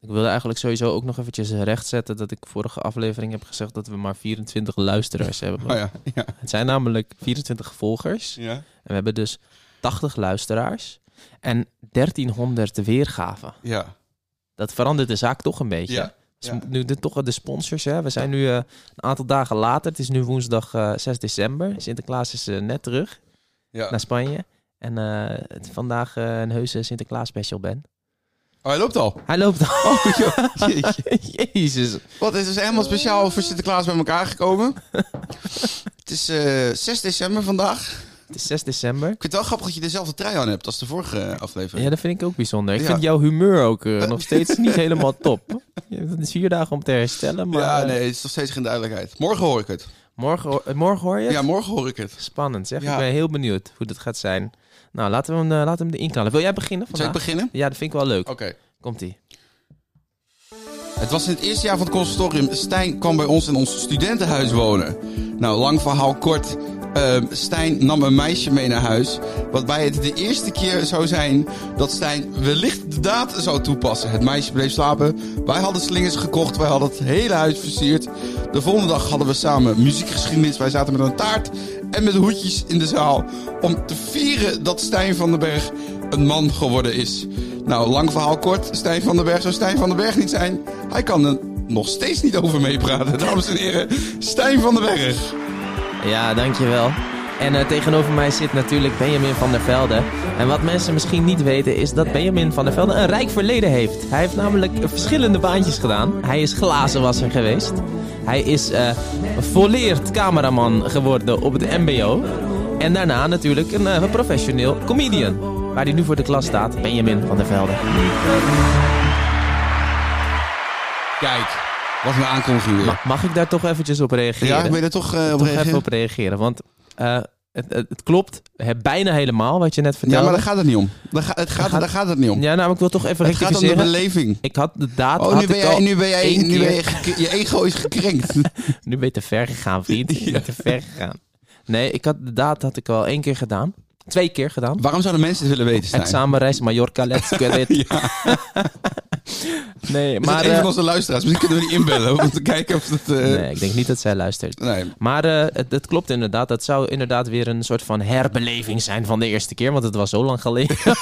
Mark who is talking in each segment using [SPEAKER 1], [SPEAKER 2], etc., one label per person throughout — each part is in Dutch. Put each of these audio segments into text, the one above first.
[SPEAKER 1] Ik wilde eigenlijk sowieso ook nog eventjes rechtzetten dat ik vorige aflevering heb gezegd dat we maar 24 luisteraars hebben.
[SPEAKER 2] Oh ja, ja.
[SPEAKER 1] Het zijn namelijk 24 volgers.
[SPEAKER 2] Ja,
[SPEAKER 1] En we hebben dus 80 luisteraars en 1300 weergaven.
[SPEAKER 2] ja.
[SPEAKER 1] Dat verandert de zaak toch een beetje.
[SPEAKER 2] Ja,
[SPEAKER 1] Dus
[SPEAKER 2] ja.
[SPEAKER 1] nu de, toch de sponsors. Hè? We zijn nu eh, een aantal dagen later. Het is nu woensdag eh, 6 december. Sinterklaas is eh, net terug
[SPEAKER 2] ja.
[SPEAKER 1] naar Spanje. En eh, het is vandaag eh, een heuse Sinterklaas special ben.
[SPEAKER 2] Oh, hij loopt al.
[SPEAKER 1] Hij loopt al.
[SPEAKER 2] Oh, joh. Jeetje.
[SPEAKER 1] Jezus.
[SPEAKER 2] Wat is dus helemaal speciaal voor Sinterklaas bij elkaar gekomen. Het is eh, 6 december vandaag.
[SPEAKER 1] Het is 6 december.
[SPEAKER 2] Ik vind het wel grappig dat je dezelfde trui aan hebt als de vorige eh, aflevering.
[SPEAKER 1] Ja, dat vind ik ook bijzonder. Ik
[SPEAKER 2] Ja.
[SPEAKER 1] vind jouw humeur ook eh, nog steeds niet helemaal top. Je hebt het vier dagen om te herstellen, maar
[SPEAKER 2] ja,
[SPEAKER 1] eh,
[SPEAKER 2] nee, het is nog steeds geen duidelijkheid. Morgen hoor ik het.
[SPEAKER 1] morgen, hoor- eh, morgen hoor je het?
[SPEAKER 2] Ja, morgen hoor ik het.
[SPEAKER 1] Spannend, zeg.
[SPEAKER 2] Ja.
[SPEAKER 1] Ik ben heel benieuwd hoe dat gaat zijn. Nou, laten we hem, eh, laten we hem erin knallen. Wil jij beginnen
[SPEAKER 2] Zal
[SPEAKER 1] vandaag?
[SPEAKER 2] ik Oh. beginnen?
[SPEAKER 1] ja, dat vind ik wel leuk.
[SPEAKER 2] Oké.
[SPEAKER 1] Komt-ie.
[SPEAKER 2] Het was in het eerste jaar van het conservatorium. Stijn kwam bij ons in ons studentenhuis wonen. Nou, lang verhaal kort. Ehm, Stijn nam een meisje mee naar huis. Waarbij het de eerste keer zou zijn dat Stijn wellicht de daad zou toepassen. Het meisje bleef slapen. Wij hadden slingers gekocht. Wij hadden het hele huis versierd. De volgende dag hadden we samen muziekgeschiedenis. Wij zaten met een taart en met hoedjes in de zaal. Om te vieren dat Stijn van den Berg een man geworden is. Nou, lang verhaal kort. Stijn van den Berg zou Stijn van den Berg niet zijn. Hij kan er nog steeds niet over meepraten, dames en heren. Stijn van den Berg.
[SPEAKER 1] Ja, dankjewel. En eh, tegenover mij zit natuurlijk Benjamin van der Velde. En wat mensen misschien niet weten is dat Benjamin van der Velde een rijk verleden heeft. Hij heeft namelijk verschillende baantjes gedaan. Hij is glazenwasser geweest. Hij is eh volleerd cameraman geworden op het mbo. En daarna natuurlijk een eh, professioneel comedian. Waar hij nu voor de klas staat, Benjamin van der Velde.
[SPEAKER 2] Kijk, wat een aankondiging weer.
[SPEAKER 1] Ma- mag ik daar toch eventjes op reageren?
[SPEAKER 2] ja, ik ben er toch eh, op
[SPEAKER 1] toch even
[SPEAKER 2] reageren.
[SPEAKER 1] op reageren, want... eh, het, het, het klopt hè, bijna helemaal wat je net vertelde.
[SPEAKER 2] Ja, maar daar gaat het niet om. Daar, ga- het gaat,
[SPEAKER 1] gaat-
[SPEAKER 2] daar gaat het niet om.
[SPEAKER 1] Ja, nou, ik wil toch even
[SPEAKER 2] het gaat om de
[SPEAKER 1] rectificeren.
[SPEAKER 2] beleving.
[SPEAKER 1] ik had de datum.
[SPEAKER 2] Oh,
[SPEAKER 1] had
[SPEAKER 2] nu ben
[SPEAKER 1] ik
[SPEAKER 2] jij,
[SPEAKER 1] al
[SPEAKER 2] nu ben jij,
[SPEAKER 1] één
[SPEAKER 2] nu ben
[SPEAKER 1] keer-
[SPEAKER 2] jij gekre- je ego is gekrenkt.
[SPEAKER 1] nu ben je te ver gegaan, vriend. Je bent te ver gegaan. Nee, ik had de datum had ik al één keer gedaan. Twee keer gedaan.
[SPEAKER 2] Waarom zouden mensen het willen weten, Stijn?
[SPEAKER 1] Examenreis Mallorca, let's get it.
[SPEAKER 2] Ja, is
[SPEAKER 1] Nee,
[SPEAKER 2] maar,
[SPEAKER 1] maar...
[SPEAKER 2] een
[SPEAKER 1] eh,
[SPEAKER 2] van onze luisteraars. Misschien kunnen we die inbellen om te kijken of dat... eh,
[SPEAKER 1] nee, ik denk niet dat zij luistert.
[SPEAKER 2] nee.
[SPEAKER 1] Maar eh, het, het klopt inderdaad. Dat zou inderdaad weer een soort van herbeleving zijn van de eerste keer. Want het was zo lang geleden.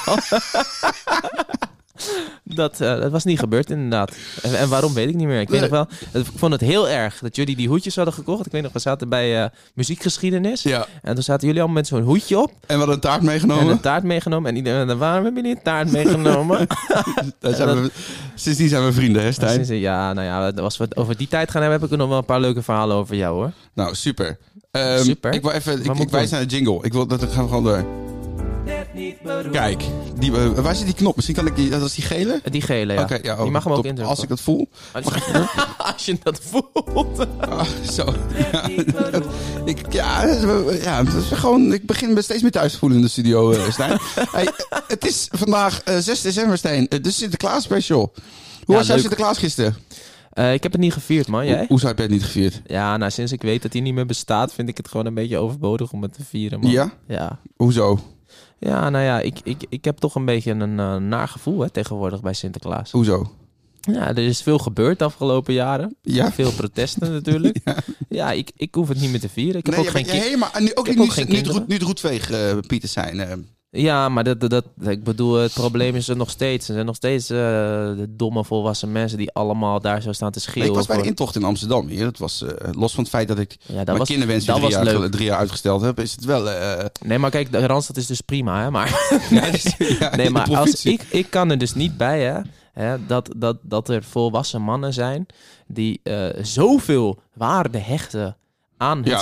[SPEAKER 1] dat, eh, dat was niet gebeurd inderdaad. En, en waarom weet ik niet meer. Ik weet
[SPEAKER 2] Nee.
[SPEAKER 1] nog wel. het- Ik vond het heel erg dat jullie die hoedjes hadden gekocht. Ik weet nog, we zaten bij eh, muziekgeschiedenis.
[SPEAKER 2] Ja, Oh.
[SPEAKER 1] En toen zaten jullie allemaal met zo'n hoedje op
[SPEAKER 2] en we hadden een taart
[SPEAKER 1] en een
[SPEAKER 2] meegenomen.
[SPEAKER 1] taart meegenomen. En iedereen, en waarom hebben jullie een taart meegenomen?
[SPEAKER 2] Daar zijn
[SPEAKER 1] en
[SPEAKER 2] we, sindsdien zijn we vrienden, hè, Stijn?
[SPEAKER 1] Sinds- ja, nou ja, als we het over die tijd gaan hebben, heb ik er nog wel een paar leuke verhalen over jou hoor.
[SPEAKER 2] Nou, super. Ehm,
[SPEAKER 1] Super.
[SPEAKER 2] Ik, wil even, ik,
[SPEAKER 1] moet
[SPEAKER 2] ik
[SPEAKER 1] ik doen?
[SPEAKER 2] wijs naar de jingle. Ik wil, dat gaan we gewoon door. Kijk, die, eh, waar zit die knop? Misschien kan ik die... Dat is die gele?
[SPEAKER 1] Eh, Die gele, ja.
[SPEAKER 2] Oké, ja, oh,
[SPEAKER 1] Die mag hem ook
[SPEAKER 2] top.
[SPEAKER 1] indrukken.
[SPEAKER 2] Als ik dat voel.
[SPEAKER 1] Als je dat voelt.
[SPEAKER 2] Ah, zo. Ja, dat- ik, ja, dat is- ja, dat is gewoon, ik begin me steeds meer thuis te voelen in de studio, eh, Stijn. hey, het is vandaag eh, 6 december, Stijn. eh, de Sinterklaas special. Hoe was jouw
[SPEAKER 1] leuk.
[SPEAKER 2] Sinterklaas gisteren?
[SPEAKER 1] Eh, ik heb het niet gevierd, man. Jij?
[SPEAKER 2] Hoe- Hoezo heb jij het niet gevierd?
[SPEAKER 1] Ja, nou, sinds ik weet dat hij niet meer bestaat, vind ik het gewoon een beetje overbodig om het te vieren, man.
[SPEAKER 2] Ja?
[SPEAKER 1] Ja,
[SPEAKER 2] Hoezo?
[SPEAKER 1] Ja, nou ja, ik, ik, ik heb toch een beetje een eh naar gevoel hè, tegenwoordig bij Sinterklaas.
[SPEAKER 2] Hoezo?
[SPEAKER 1] Ja, er is veel gebeurd de afgelopen jaren.
[SPEAKER 2] Ja?
[SPEAKER 1] Veel protesten natuurlijk. ja, ik, ik hoef het niet meer te vieren. Ik heb
[SPEAKER 2] Nee,
[SPEAKER 1] ook
[SPEAKER 2] je
[SPEAKER 1] geen
[SPEAKER 2] bent-
[SPEAKER 1] kind.
[SPEAKER 2] helemaal, en nu- ook
[SPEAKER 1] heb
[SPEAKER 2] niet,
[SPEAKER 1] ook geen
[SPEAKER 2] niet, niet,
[SPEAKER 1] kinderen.
[SPEAKER 2] roet- niet roetveeg, eh, Pieter zijn. eh.
[SPEAKER 1] Ja, maar dat, dat, dat, ik bedoel, het probleem is er nog steeds. Er zijn nog steeds eh, de domme volwassen mensen die allemaal daar zo staan te
[SPEAKER 2] Nee,
[SPEAKER 1] schreeuwen.
[SPEAKER 2] ik was bij de
[SPEAKER 1] voor-
[SPEAKER 2] intocht in Amsterdam hier. Dat was eh, los van het feit dat ik
[SPEAKER 1] ja, dat
[SPEAKER 2] mijn
[SPEAKER 1] was,
[SPEAKER 2] kinderwens die
[SPEAKER 1] dat
[SPEAKER 2] drie
[SPEAKER 1] was
[SPEAKER 2] jaar,
[SPEAKER 1] leuk.
[SPEAKER 2] gel- drie jaar uitgesteld heb, is het wel... eh,
[SPEAKER 1] Nee, maar kijk, de Randstad is dus prima, hè? Maar
[SPEAKER 2] ja, dus- ja, in
[SPEAKER 1] Nee,
[SPEAKER 2] de
[SPEAKER 1] maar als
[SPEAKER 2] provincie.
[SPEAKER 1] ik, ik kan er dus niet bij, hè, hè dat, dat, dat er volwassen mannen zijn die eh, zoveel waarde hechten aan het
[SPEAKER 2] Ja.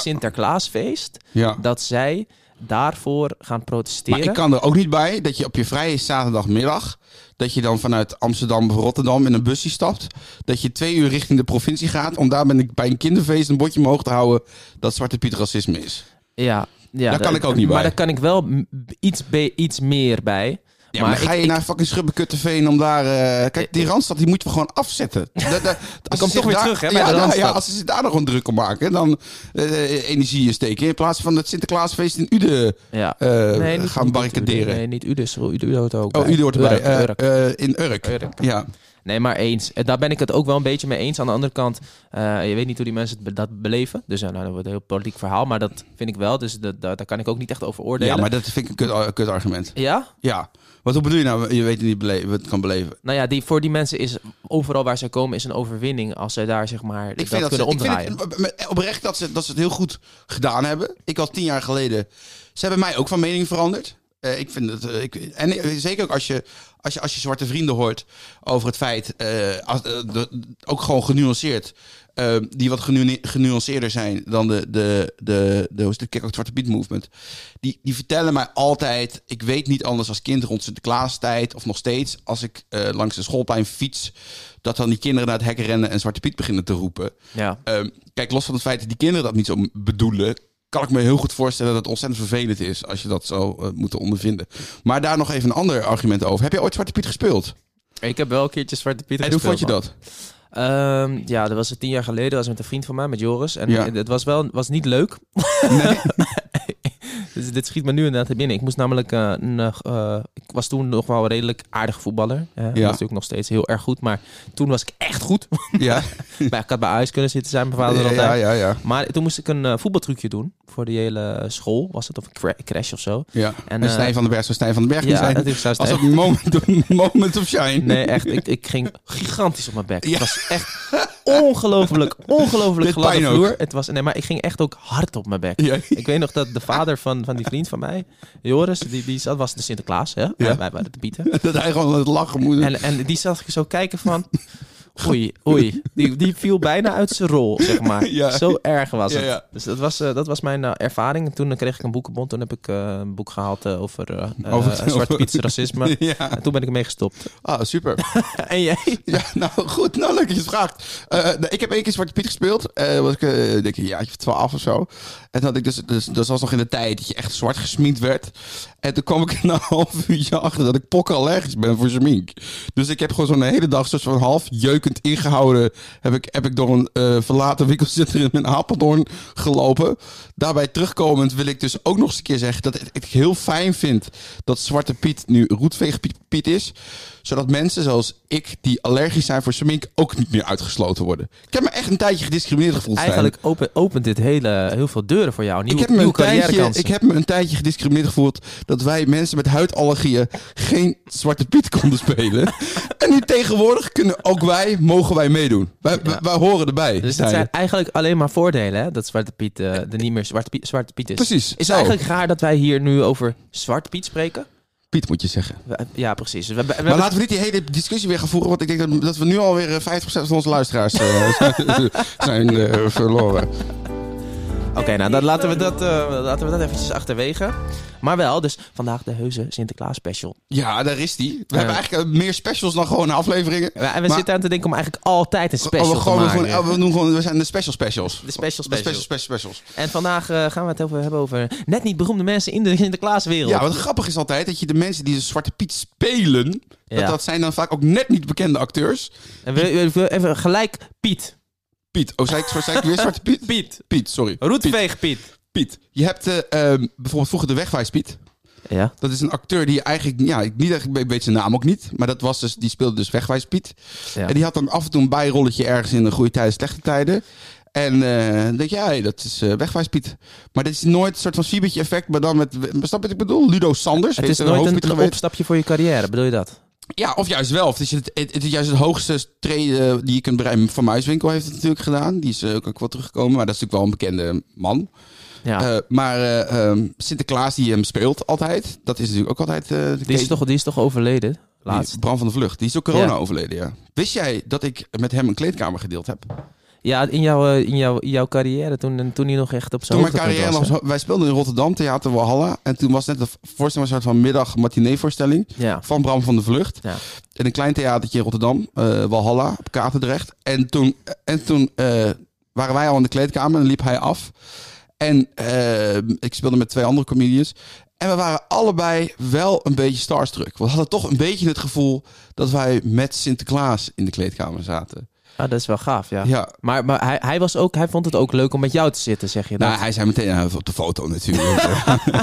[SPEAKER 1] Sinterklaasfeest,
[SPEAKER 2] Ja.
[SPEAKER 1] dat zij daarvoor gaan protesteren.
[SPEAKER 2] Maar ik kan er ook niet bij dat je op je vrije zaterdagmiddag... dat je dan vanuit Amsterdam of Rotterdam in een busje stapt... dat je twee uur richting de provincie gaat... om daar bij een- bij een kinderfeest een bordje omhoog te houden... dat Zwarte Piet racisme is.
[SPEAKER 1] ja, ja,
[SPEAKER 2] daar
[SPEAKER 1] dat-
[SPEAKER 2] kan ik ook niet bij.
[SPEAKER 1] Maar daar kan ik wel m- iets, be- iets meer bij.
[SPEAKER 2] Ja, maar,
[SPEAKER 1] ik-
[SPEAKER 2] ga je naar fucking Schubbekutteveen om daar... eh, kijk, die Randstad die moeten we gewoon afzetten. Da- da- als ze
[SPEAKER 1] toch
[SPEAKER 2] zich
[SPEAKER 1] weer
[SPEAKER 2] daar-
[SPEAKER 1] terug, hè, bij
[SPEAKER 2] ja,
[SPEAKER 1] de
[SPEAKER 2] da-
[SPEAKER 1] Randstad.
[SPEAKER 2] ja, als ze zich daar nog een druk om maken... dan eh, energie steken... in plaats van het Sinterklaasfeest in Uden
[SPEAKER 1] ja.
[SPEAKER 2] eh,
[SPEAKER 1] Nee, niet-
[SPEAKER 2] gaan
[SPEAKER 1] niet dus, Udo.
[SPEAKER 2] barricaderen.
[SPEAKER 1] Nee, niet Udo. Udo hoort er ook
[SPEAKER 2] Oh,
[SPEAKER 1] bij.
[SPEAKER 2] Udo hoort erbij.
[SPEAKER 1] Urk,
[SPEAKER 2] Eh,
[SPEAKER 1] Urk.
[SPEAKER 2] eh, in Urk.
[SPEAKER 1] Urk.
[SPEAKER 2] Ja.
[SPEAKER 1] Nee, maar eens. Eh, Daar ben ik het ook wel een beetje mee eens. Aan de andere kant, eh, je weet niet hoe die mensen het be- dat beleven. Dus eh, nou, dat wordt een heel politiek verhaal, maar dat vind ik wel. Dus dat, dat- daar kan ik ook niet echt over oordelen.
[SPEAKER 2] Ja, maar dat vind ik een kut, eh, kut argument.
[SPEAKER 1] Ja?
[SPEAKER 2] Ja. Wat hoe bedoel je nou? Je weet het niet bele- wat het kan beleven.
[SPEAKER 1] Nou ja, die, voor die mensen is overal waar zij komen is een overwinning als zij daar zeg maar dat,
[SPEAKER 2] Ik vind dat,
[SPEAKER 1] kunnen
[SPEAKER 2] ze, ik
[SPEAKER 1] omdraaien.
[SPEAKER 2] vind het, eh, oprecht dat ze, dat ze het heel goed gedaan hebben. Ik had tien jaar geleden. Ze hebben mij ook van mening veranderd. Eh, ik vind het, eh, ik, en eh, zeker ook als je, als, je, als je zwarte vrienden hoort over het feit, eh, als, eh, de- ook gewoon genuanceerd, eh, die wat genu genuanceerder zijn dan de, de, de, de, hoe is het, Kijk ook het Zwarte Piet Movement. Die, die vertellen mij altijd, ik weet niet anders als kind rond Sinterklaastijd of nog steeds, als ik eh, langs de schoolplein fiets, dat dan die kinderen naar het hek rennen en Zwarte Piet beginnen te roepen.
[SPEAKER 1] Ja.
[SPEAKER 2] Ehm, kijk, los van het feit dat die kinderen dat niet zo bedoelen, kan ik me heel goed voorstellen dat het ontzettend vervelend is als je dat zou eh, moeten ondervinden. Maar daar nog even een ander argument over. Heb je ooit Zwarte Piet gespeeld?
[SPEAKER 1] Ik heb wel een keertje Zwarte Piet
[SPEAKER 2] en hoe vond je
[SPEAKER 1] gespeeld, man.
[SPEAKER 2] dat?
[SPEAKER 1] Ehm, ja, dat was het tien jaar geleden. Dat was met een vriend van mij, met Joris. En
[SPEAKER 2] Ja.
[SPEAKER 1] het was wel was niet leuk. Dus dit schiet me nu inderdaad er binnen. Ik moest namelijk. eh, een, eh, eh, ik was toen nog wel een redelijk aardig voetballer. Ja. Dat is natuurlijk nog steeds heel erg goed. Maar toen was ik echt goed.
[SPEAKER 2] Ja,
[SPEAKER 1] Maar ik had bij huis kunnen zitten, zijn mijn vader
[SPEAKER 2] ja,
[SPEAKER 1] altijd.
[SPEAKER 2] ja, ja, ja.
[SPEAKER 1] Maar toen moest ik een eh, voetbaltrucje doen. Voor de hele school was het. Of een cra- crash of zo.
[SPEAKER 2] En,
[SPEAKER 1] eh,
[SPEAKER 2] Stijn van den Berg zou Stijn van den Berg niet
[SPEAKER 1] Ja,
[SPEAKER 2] zijn.
[SPEAKER 1] dat is zo
[SPEAKER 2] Als
[SPEAKER 1] sterk.
[SPEAKER 2] op moment, moment of shine.
[SPEAKER 1] Nee, echt. Ik, ik ging gigantisch op mijn bek.
[SPEAKER 2] Ja.
[SPEAKER 1] Het was echt ongelooflijk, ongelooflijk
[SPEAKER 2] Dit
[SPEAKER 1] gladde
[SPEAKER 2] pijn ook.
[SPEAKER 1] vloer. Het was, nee, maar ik ging echt ook hard op mijn bek.
[SPEAKER 2] Ja.
[SPEAKER 1] Ik weet nog dat de vader van, van die vriend van mij, Joris, die, die zat, was de Sinterklaas, hè? Wij, wij waren de pieten.
[SPEAKER 2] Dat hij gewoon aan het lachen moet.
[SPEAKER 1] En, en die zat zo kijken van... Oei, oei. Die, die viel bijna uit zijn rol, zeg maar.
[SPEAKER 2] Ja.
[SPEAKER 1] Zo erg was
[SPEAKER 2] Ja,
[SPEAKER 1] het.
[SPEAKER 2] ja.
[SPEAKER 1] Dus dat was, eh, dat was mijn eh, ervaring. En toen eh, kreeg ik een boekenbond. Toen heb ik eh, een boek gehaald eh, over, eh
[SPEAKER 2] Over-
[SPEAKER 1] eh, Zwarte Piets racisme.
[SPEAKER 2] ja,
[SPEAKER 1] En toen ben ik ermee gestopt.
[SPEAKER 2] ah, super.
[SPEAKER 1] En jij?
[SPEAKER 2] Ja, nou goed. Nou, leuk dat je het vraagt. Eh, nou, ik heb één keer Zwarte Piet gespeeld. eh was ik eh, denk ik een jaartje of twaalf of zo. En toen had ik dus, dus, dat was nog in de tijd dat je echt zwart gesminkt werd. En toen kwam ik na een half uurtje achter dat ik pokkenallergisch ben voor smink. Dus ik heb gewoon zo'n hele dag, zo'n van half jeukend ingehouden. Heb ik, heb ik door een eh, verlaten winkelcentrum in Apeldoorn gelopen. Daarbij terugkomend wil ik dus ook nog eens een keer zeggen dat ik het heel fijn vind dat Zwarte Piet nu roetveegpiet Piet is. Zodat mensen zoals ik, die allergisch zijn voor smink, ook niet meer uitgesloten worden. Ik heb me echt een tijdje gediscrimineerd gevoeld. Stijn.
[SPEAKER 1] Eigenlijk open, opent dit hele, heel veel deuren voor jou. Nieuwe,
[SPEAKER 2] Ik heb, me een
[SPEAKER 1] nieuwe
[SPEAKER 2] tijdje,
[SPEAKER 1] carrièrekansen.
[SPEAKER 2] ik heb me een tijdje gediscrimineerd gevoeld dat wij mensen met huidallergieën geen Zwarte Piet konden spelen. en nu tegenwoordig kunnen ook wij, mogen wij meedoen. Wij, wij- wij horen erbij.
[SPEAKER 1] Dus dat
[SPEAKER 2] Stijn.
[SPEAKER 1] zijn eigenlijk alleen maar voordelen, hè? Dat Zwarte Piet eh, er niet meer Zwarte Piet, Zwarte Piet is.
[SPEAKER 2] Precies,
[SPEAKER 1] Is
[SPEAKER 2] zo.
[SPEAKER 1] het eigenlijk raar dat wij hier nu over Zwarte Piet spreken?
[SPEAKER 2] Piet moet je zeggen.
[SPEAKER 1] We- Ja, precies. We, we- we
[SPEAKER 2] Maar
[SPEAKER 1] hebben-
[SPEAKER 2] laten we niet die hele discussie weer gaan voeren, want ik denk dat, dat we nu alweer eh, 50% van onze luisteraars eh, zijn eh, verloren.
[SPEAKER 1] Oké, nou dan laten we, dat, eh, laten we dat eventjes achterwege. Maar wel, dus vandaag de heuse Sinterklaas special.
[SPEAKER 2] Ja, daar is die. We hebben eigenlijk eh, meer specials dan gewoon afleveringen.
[SPEAKER 1] En we
[SPEAKER 2] Maar-
[SPEAKER 1] zitten aan te denken om eigenlijk altijd een special
[SPEAKER 2] Oh, we, gewoon,
[SPEAKER 1] te
[SPEAKER 2] we,
[SPEAKER 1] maken.
[SPEAKER 2] gewoon- oh, we doen gewoon, we zijn de special specials.
[SPEAKER 1] De special
[SPEAKER 2] De special
[SPEAKER 1] specials.
[SPEAKER 2] special specials.
[SPEAKER 1] En vandaag eh, gaan we het over, hebben over net niet beroemde mensen in de Sinterklaaswereld.
[SPEAKER 2] Ja, wat grappig is altijd dat je de mensen die de Zwarte Piet spelen, dat,
[SPEAKER 1] Ja.
[SPEAKER 2] dat zijn dan vaak ook net niet bekende acteurs.
[SPEAKER 1] En we, we- we- even gelijk Piet.
[SPEAKER 2] Piet, oh, zei ik, zei ik weer Zwarte Piet?
[SPEAKER 1] Piet.
[SPEAKER 2] Piet, sorry.
[SPEAKER 1] Roetveeg Piet.
[SPEAKER 2] Piet. Je hebt eh, ehm, bijvoorbeeld vroeger de Wegwijs Piet.
[SPEAKER 1] Ja.
[SPEAKER 2] Dat is een acteur die eigenlijk, ja, ik, niet, echt- ik weet zijn naam ook niet, maar dat was dus, die speelde dus Wegwijs Piet.
[SPEAKER 1] ja.
[SPEAKER 2] En die had dan af en toe een bijrolletje ergens in de goede tijden, slechte tijden. En eh, dan denk je, ja, hey, dat is eh Wegwijs Piet. Maar dat is nooit een soort van Siebetje effect, maar dan met, snap je wat ik bedoel? Ludo Sanders,
[SPEAKER 1] Het
[SPEAKER 2] heeft
[SPEAKER 1] is nooit
[SPEAKER 2] hoofdpiet
[SPEAKER 1] een, een
[SPEAKER 2] geweest.
[SPEAKER 1] opstapje voor je carrière, bedoel je dat?
[SPEAKER 2] Ja, of juist wel. Of het, is het, het, het is juist het hoogste treden die je kunt bereiken. Van Muiswinkel heeft het natuurlijk gedaan. Die is eh, ook, ook wel teruggekomen. Maar dat is natuurlijk wel een bekende man.
[SPEAKER 1] Ja.
[SPEAKER 2] Eh, maar eh, ehm, Sinterklaas die hem speelt altijd. Dat is natuurlijk ook altijd... eh, de
[SPEAKER 1] die, is
[SPEAKER 2] case-
[SPEAKER 1] toch, die is toch overleden?
[SPEAKER 2] die-
[SPEAKER 1] Laatst.
[SPEAKER 2] Bram van de Vlucht. Die is door corona
[SPEAKER 1] Ja.
[SPEAKER 2] overleden, ja. Wist jij dat ik met hem een kleedkamer gedeeld heb?
[SPEAKER 1] Ja, in jouw, eh, in jouw, in jouw carrière, toen, toen hij nog echt op zijn
[SPEAKER 2] Toen mijn
[SPEAKER 1] hoogtepunt
[SPEAKER 2] carrière
[SPEAKER 1] was,
[SPEAKER 2] nog... zo- Wij speelden in Rotterdam, Theater Walhalla. En toen was net de voorstelling een soort van middag matinee voorstelling
[SPEAKER 1] hè? Ja.
[SPEAKER 2] van Bram van de Vlucht.
[SPEAKER 1] Ja.
[SPEAKER 2] In een klein theatertje in Rotterdam, eh, Walhalla, op Katendrecht. En toen, en toen eh, waren wij al in de kleedkamer en liep hij af. En eh, ik speelde met twee andere comedians. En we waren allebei wel een beetje starstruck. We hadden toch een beetje het gevoel dat wij met Sinterklaas in de kleedkamer zaten.
[SPEAKER 1] Ah, dat is wel gaaf, ja.
[SPEAKER 2] Ja.
[SPEAKER 1] Maar, maar hij, hij, was ook, hij vond het ook leuk om met jou te zitten, zeg je dan?
[SPEAKER 2] Nou, hij zei meteen eh, op de foto natuurlijk.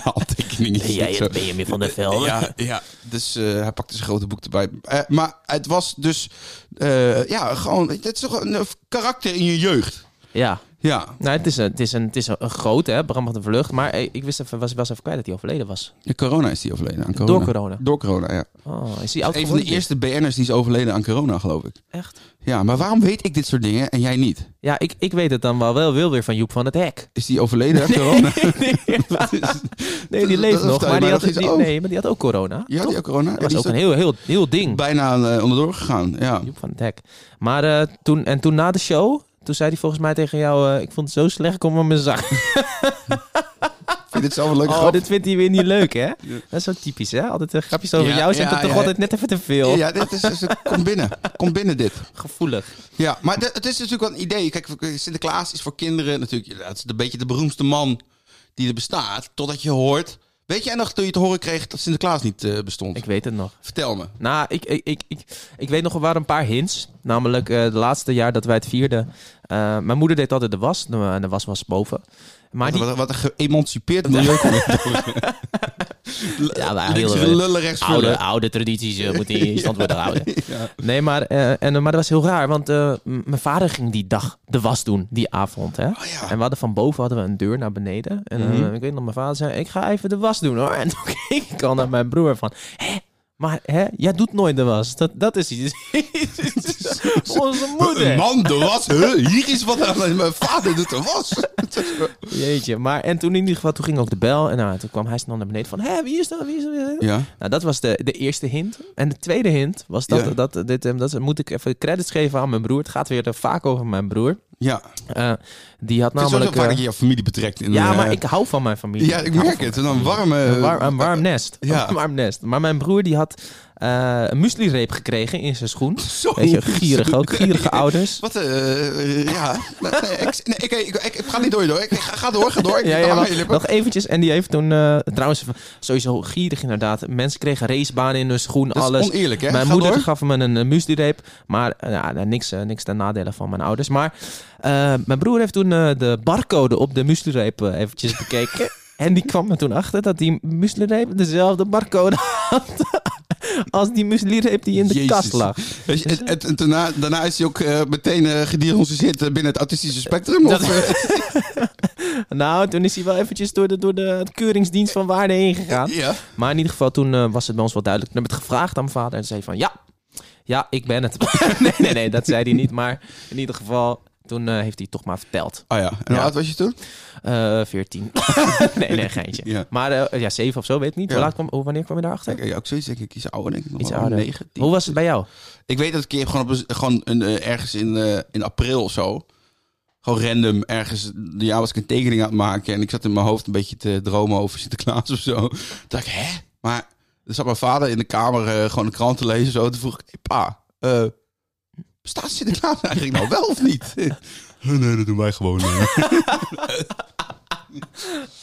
[SPEAKER 2] Handtekeningetjes. en zo.
[SPEAKER 1] Benjamin van der Velde?
[SPEAKER 2] Ja, ja, dus eh, hij pakte zijn grote boek erbij. Eh, maar het was dus, eh, ja, gewoon, het is toch een eh, karakter in je jeugd.
[SPEAKER 1] Ja.
[SPEAKER 2] Ja,
[SPEAKER 1] Nou, het is een, het is een, het is een, een grote, hè, Bram van de Vlucht. Maar eh, ik wist even, was, was even kwijt dat hij overleden was.
[SPEAKER 2] de corona is die overleden aan corona.
[SPEAKER 1] Door corona.
[SPEAKER 2] Door corona, ja.
[SPEAKER 1] Oh, is hij oud
[SPEAKER 2] Een van de
[SPEAKER 1] geworden?
[SPEAKER 2] eerste BN'ers die is overleden aan corona, geloof ik.
[SPEAKER 1] Echt?
[SPEAKER 2] Ja, maar waarom weet ik dit soort dingen en jij niet?
[SPEAKER 1] Ja, ik, ik weet het dan wel, wel, wel weer van Joep van het Hek.
[SPEAKER 2] Is die overleden aan corona?
[SPEAKER 1] nee, nee, die
[SPEAKER 2] dat
[SPEAKER 1] leeft
[SPEAKER 2] vertel je
[SPEAKER 1] nog.
[SPEAKER 2] mij
[SPEAKER 1] Maar die
[SPEAKER 2] nog
[SPEAKER 1] had,
[SPEAKER 2] eens
[SPEAKER 1] die-
[SPEAKER 2] over.
[SPEAKER 1] nee, maar die had ook corona.
[SPEAKER 2] Ja,
[SPEAKER 1] toch?
[SPEAKER 2] die ook corona. Ja,
[SPEAKER 1] Dat was
[SPEAKER 2] die
[SPEAKER 1] ook
[SPEAKER 2] is
[SPEAKER 1] een heel, heel, heel ding.
[SPEAKER 2] bijna eh, onderdoor gegaan. Ja.
[SPEAKER 1] Joep van het Hek. Maar eh, toen, en toen na de show, toen zei hij volgens mij tegen jou... eh, ik vond het zo slecht, kom maar mijn zak.
[SPEAKER 2] Vind je dit zelf een leuke
[SPEAKER 1] Oh,
[SPEAKER 2] grap?
[SPEAKER 1] dit vindt hij weer niet leuk, hè? Dat is zo typisch, hè? Altijd eh, grapjes over
[SPEAKER 2] Ja,
[SPEAKER 1] jou zijn
[SPEAKER 2] ja,
[SPEAKER 1] dat toch
[SPEAKER 2] ja.
[SPEAKER 1] altijd net even te veel.
[SPEAKER 2] Ja, dit is, is- kom binnen. Kom binnen dit.
[SPEAKER 1] Gevoelig.
[SPEAKER 2] Ja, maar de- het is natuurlijk wel een idee. Kijk, Sinterklaas is voor kinderen natuurlijk... Dat is een beetje de beroemdste man die er bestaat. Totdat je hoort... Weet jij nog toen je te horen kreeg dat Sinterklaas niet eh, bestond?
[SPEAKER 1] Ik weet het nog.
[SPEAKER 2] Vertel me.
[SPEAKER 1] Nou, ik, ik, ik, ik, ik weet nog, er waren een paar hints. Namelijk, eh de laatste jaar dat wij het vierden... eh, mijn moeder deed altijd de was. Nou, En de was was boven. Maar die...
[SPEAKER 2] Wat, wat een geëmancipeerd milieu komt er
[SPEAKER 1] Ja, maar
[SPEAKER 2] Links
[SPEAKER 1] heel-
[SPEAKER 2] lullen, rechts vullen.
[SPEAKER 1] oude tradities eh, moeten in stand worden gehouden. Nee, maar, eh, en, maar dat was heel raar. Want eh, m- mijn vader ging die dag de was doen, die avond. Hè?
[SPEAKER 2] ja.
[SPEAKER 1] En we hadden van boven hadden we een deur naar beneden. En eh, ik weet nog, mijn vader zei, ik ga even de was doen hoor. En toen keek ik al naar mijn broer van, hè? Maar hè, jij doet nooit de was. Dat, dat is iets. Onze
[SPEAKER 2] Een
[SPEAKER 1] moeder.
[SPEAKER 2] man, de was. Huh? Hier is wat aan mijn vader doet de was.
[SPEAKER 1] Jeetje. Maar, en toen in ieder geval, toen ging ook de bel. En nou, toen kwam hij snel naar beneden van, hè, wie is dat? Wie is dat? Wie is dat?
[SPEAKER 2] Ja.
[SPEAKER 1] Nou, dat was de, de eerste hint. En de tweede hint was dat,
[SPEAKER 2] Ja.
[SPEAKER 1] dat, dit, ehm, dat moet ik even credits geven aan mijn broer. Het gaat weer er vaak over mijn broer.
[SPEAKER 2] Ja.
[SPEAKER 1] Eh, die had
[SPEAKER 2] Het is
[SPEAKER 1] namelijk.
[SPEAKER 2] zo vaak dat
[SPEAKER 1] eh,
[SPEAKER 2] je je familie betrekt. In
[SPEAKER 1] ja,
[SPEAKER 2] een,
[SPEAKER 1] maar
[SPEAKER 2] eh,
[SPEAKER 1] ik hou van mijn familie.
[SPEAKER 2] Ja, ik
[SPEAKER 1] hou
[SPEAKER 2] merk
[SPEAKER 1] van-
[SPEAKER 2] het. En dan warme...
[SPEAKER 1] Een, warm, een warm nest.
[SPEAKER 2] ja.
[SPEAKER 1] Een warm nest. Maar mijn broer die had eh een muesli-reep gekregen in zijn schoen.
[SPEAKER 2] Zo.
[SPEAKER 1] Weet je, gierig ook. Gierige ouders.
[SPEAKER 2] Wat, eh, ja. Nee, ik, nee, ik, ik, ik, ik ga niet door, door. Ik, ik ga, ga door, ga door. Ik,
[SPEAKER 1] Ja, ja,
[SPEAKER 2] ik hang aan
[SPEAKER 1] wacht,
[SPEAKER 2] je lippen.
[SPEAKER 1] nog eventjes. En die heeft toen... eh, trouwens, sowieso gierig inderdaad. Mensen kregen racebanen in hun schoen,
[SPEAKER 2] Dat
[SPEAKER 1] alles.
[SPEAKER 2] is oneerlijk, hè?
[SPEAKER 1] Mijn
[SPEAKER 2] Ga
[SPEAKER 1] moeder
[SPEAKER 2] door.
[SPEAKER 1] gaf me een uh, muesli-reep. Maar eh, ja, nou, niks, eh, niks ten nadele van mijn ouders. Maar eh, mijn broer heeft toen eh, de barcode op de muesli-reep eh, eventjes bekeken. en die kwam er toen achter dat die muesli-reep dezelfde barcode had... als die muesli-reep die in de
[SPEAKER 2] Jezus.
[SPEAKER 1] kast lag.
[SPEAKER 2] Weet je, en- en- en daarna, daarna is hij ook eh, meteen eh gediagnosticeerd eh, binnen het autistische spectrum. Of, eh,
[SPEAKER 1] Nou, toen is hij wel eventjes door de, door de keuringsdienst van waarde heen gegaan.
[SPEAKER 2] ja.
[SPEAKER 1] Maar in ieder geval, toen eh, was het bij ons wel duidelijk. Toen heb ik het gevraagd aan mijn vader en zei van... Ja, ja, ik ben het. nee, nee, nee, dat zei hij niet. Maar in ieder geval, toen eh, heeft hij het toch maar verteld.
[SPEAKER 2] Oh ja. En hoe
[SPEAKER 1] Ja.
[SPEAKER 2] oud was je toen?
[SPEAKER 1] Eh 14. nee, nee, geintje.
[SPEAKER 2] Ja.
[SPEAKER 1] Maar eh, ja, 7 of zo, weet ik niet. Hoe
[SPEAKER 2] Ja.
[SPEAKER 1] laat kwam, hoe- wanneer kwam je daarachter?
[SPEAKER 2] Ik, ik, ook zoiets, denk ik. Iets ouder, denk ik. Nog
[SPEAKER 1] Iets
[SPEAKER 2] wel
[SPEAKER 1] ouder.
[SPEAKER 2] 19.
[SPEAKER 1] Hoe was het bij jou?
[SPEAKER 2] Ik weet dat ik een keer gewoon, op, een- gewoon een, eh, ergens in, eh, in april of zo. Gewoon random ergens. Ja, was ik een tekening aan het maken. En ik zat in mijn hoofd een beetje te dromen over Sinterklaas of zo. Toen dacht ik, hè? Maar er zat mijn vader in de kamer eh, gewoon een krant te lezen. Zo. Toen vroeg ik, hey, pa, eh, bestaat Sinterklaas eigenlijk nou wel of niet? nee, dat doen wij gewoon. eh. maar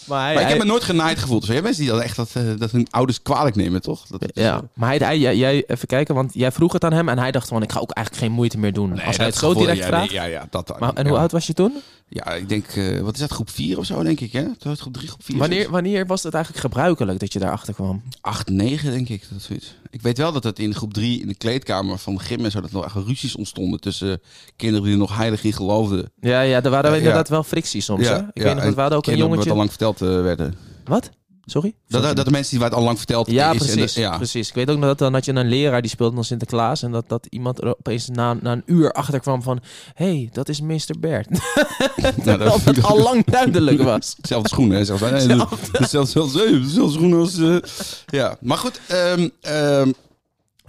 [SPEAKER 1] Maar hij,
[SPEAKER 2] ik heb
[SPEAKER 1] hij-
[SPEAKER 2] me nooit genaaid gevoeld. Zo, jij mensen die dan echt dat, eh, dat hun ouders kwalijk nemen, toch? Dat, dat-
[SPEAKER 1] ja, maar hij, hij- jij, jij- even kijken, want jij vroeg het aan hem en hij dacht van, ik ga ook eigenlijk geen moeite meer doen.
[SPEAKER 2] Nee,
[SPEAKER 1] als hij
[SPEAKER 2] dat
[SPEAKER 1] het zo
[SPEAKER 2] gevoel,
[SPEAKER 1] direct
[SPEAKER 2] ja,
[SPEAKER 1] vraagt.
[SPEAKER 2] nee, ja, ja, dat dan.
[SPEAKER 1] Maar, en hoe
[SPEAKER 2] Ja.
[SPEAKER 1] oud was je toen?
[SPEAKER 2] Ja, ik denk, eh, wat is dat, groep 4 of zo, denk ik, hè? Toen was het groep 3, groep 4.
[SPEAKER 1] Wanneer, wanneer was het eigenlijk gebruikelijk dat je daarachter kwam?
[SPEAKER 2] 8, 9, denk ik, dat zoiets. Ik weet wel dat het in groep 3 in de kleedkamer van de gym en zo, dat er nog echt ruzies ontstonden tussen kinderen die er nog heilig in geloofden.
[SPEAKER 1] Ja, Eh, ja, er waren
[SPEAKER 2] Ja,
[SPEAKER 1] inderdaad wel frictie soms. hè? Ik weet nog, dat we hadden ook een
[SPEAKER 2] kinderen
[SPEAKER 1] jongetje.
[SPEAKER 2] Wat al lang verteld eh, werden.
[SPEAKER 1] Wat? Sorry?
[SPEAKER 2] Dat, dat, dat de mensen die waar het al lang verteld
[SPEAKER 1] ja,
[SPEAKER 2] is. en
[SPEAKER 1] precies,
[SPEAKER 2] de- ja.
[SPEAKER 1] precies. Ik weet ook nog dat dan had je een leraar die speelde dan Sinterklaas. En dat, dat iemand er opeens na, na een uur achter kwam van... Hé, hey, dat is Mr. Bert.
[SPEAKER 2] Nou, dat-
[SPEAKER 1] Terwijl dat al lang duidelijk was.
[SPEAKER 2] Zelfde schoenen, hè? Dus Zelfde, nee, zelfde. Zelfde, schoenen als... eh, ja, maar goed. ehm, ehm,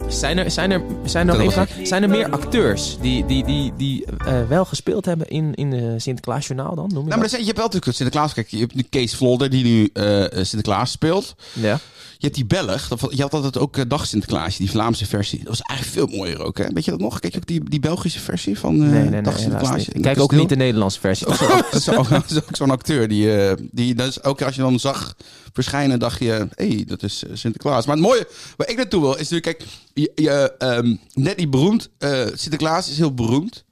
[SPEAKER 1] Zijn er, zijn er, zijn er, nog
[SPEAKER 2] Dat
[SPEAKER 1] even,
[SPEAKER 2] was
[SPEAKER 1] zijn er meer acteurs die, die, die, die eh, wel gespeeld hebben in, in de Sinterklaasjournaal dan? Noem je
[SPEAKER 2] nou, maar er zijn, je hebt wel natuurlijk Sinterklaas. Kijk, je hebt nu Kees Vlodder, die nu eh, Sinterklaas speelt.
[SPEAKER 1] dat? Ja.
[SPEAKER 2] Je hebt die Belg, dat- je had altijd ook eh, Dag Sinterklaasje, die Vlaamse versie. Dat was eigenlijk veel mooier ook, hè? Weet je dat nog? Kijk je ook die, die Belgische versie van eh,
[SPEAKER 1] Nee, nee, nee.
[SPEAKER 2] Dag
[SPEAKER 1] helaas
[SPEAKER 2] Sinterklaasje?
[SPEAKER 1] niet. Kijk ook niet de Nederlandse versie.
[SPEAKER 2] Ook, zo- ook zo- ook, ook zo'n acteur die, eh, die dat is, elke keer als je dan zag verschijnen, dacht je, hé, hey, dat is eh, Sinterklaas. Maar het mooie waar ik naartoe wil is natuurlijk, kijk, je, je, ehm, net niet beroemd. eh, Sinterklaas is heel beroemd.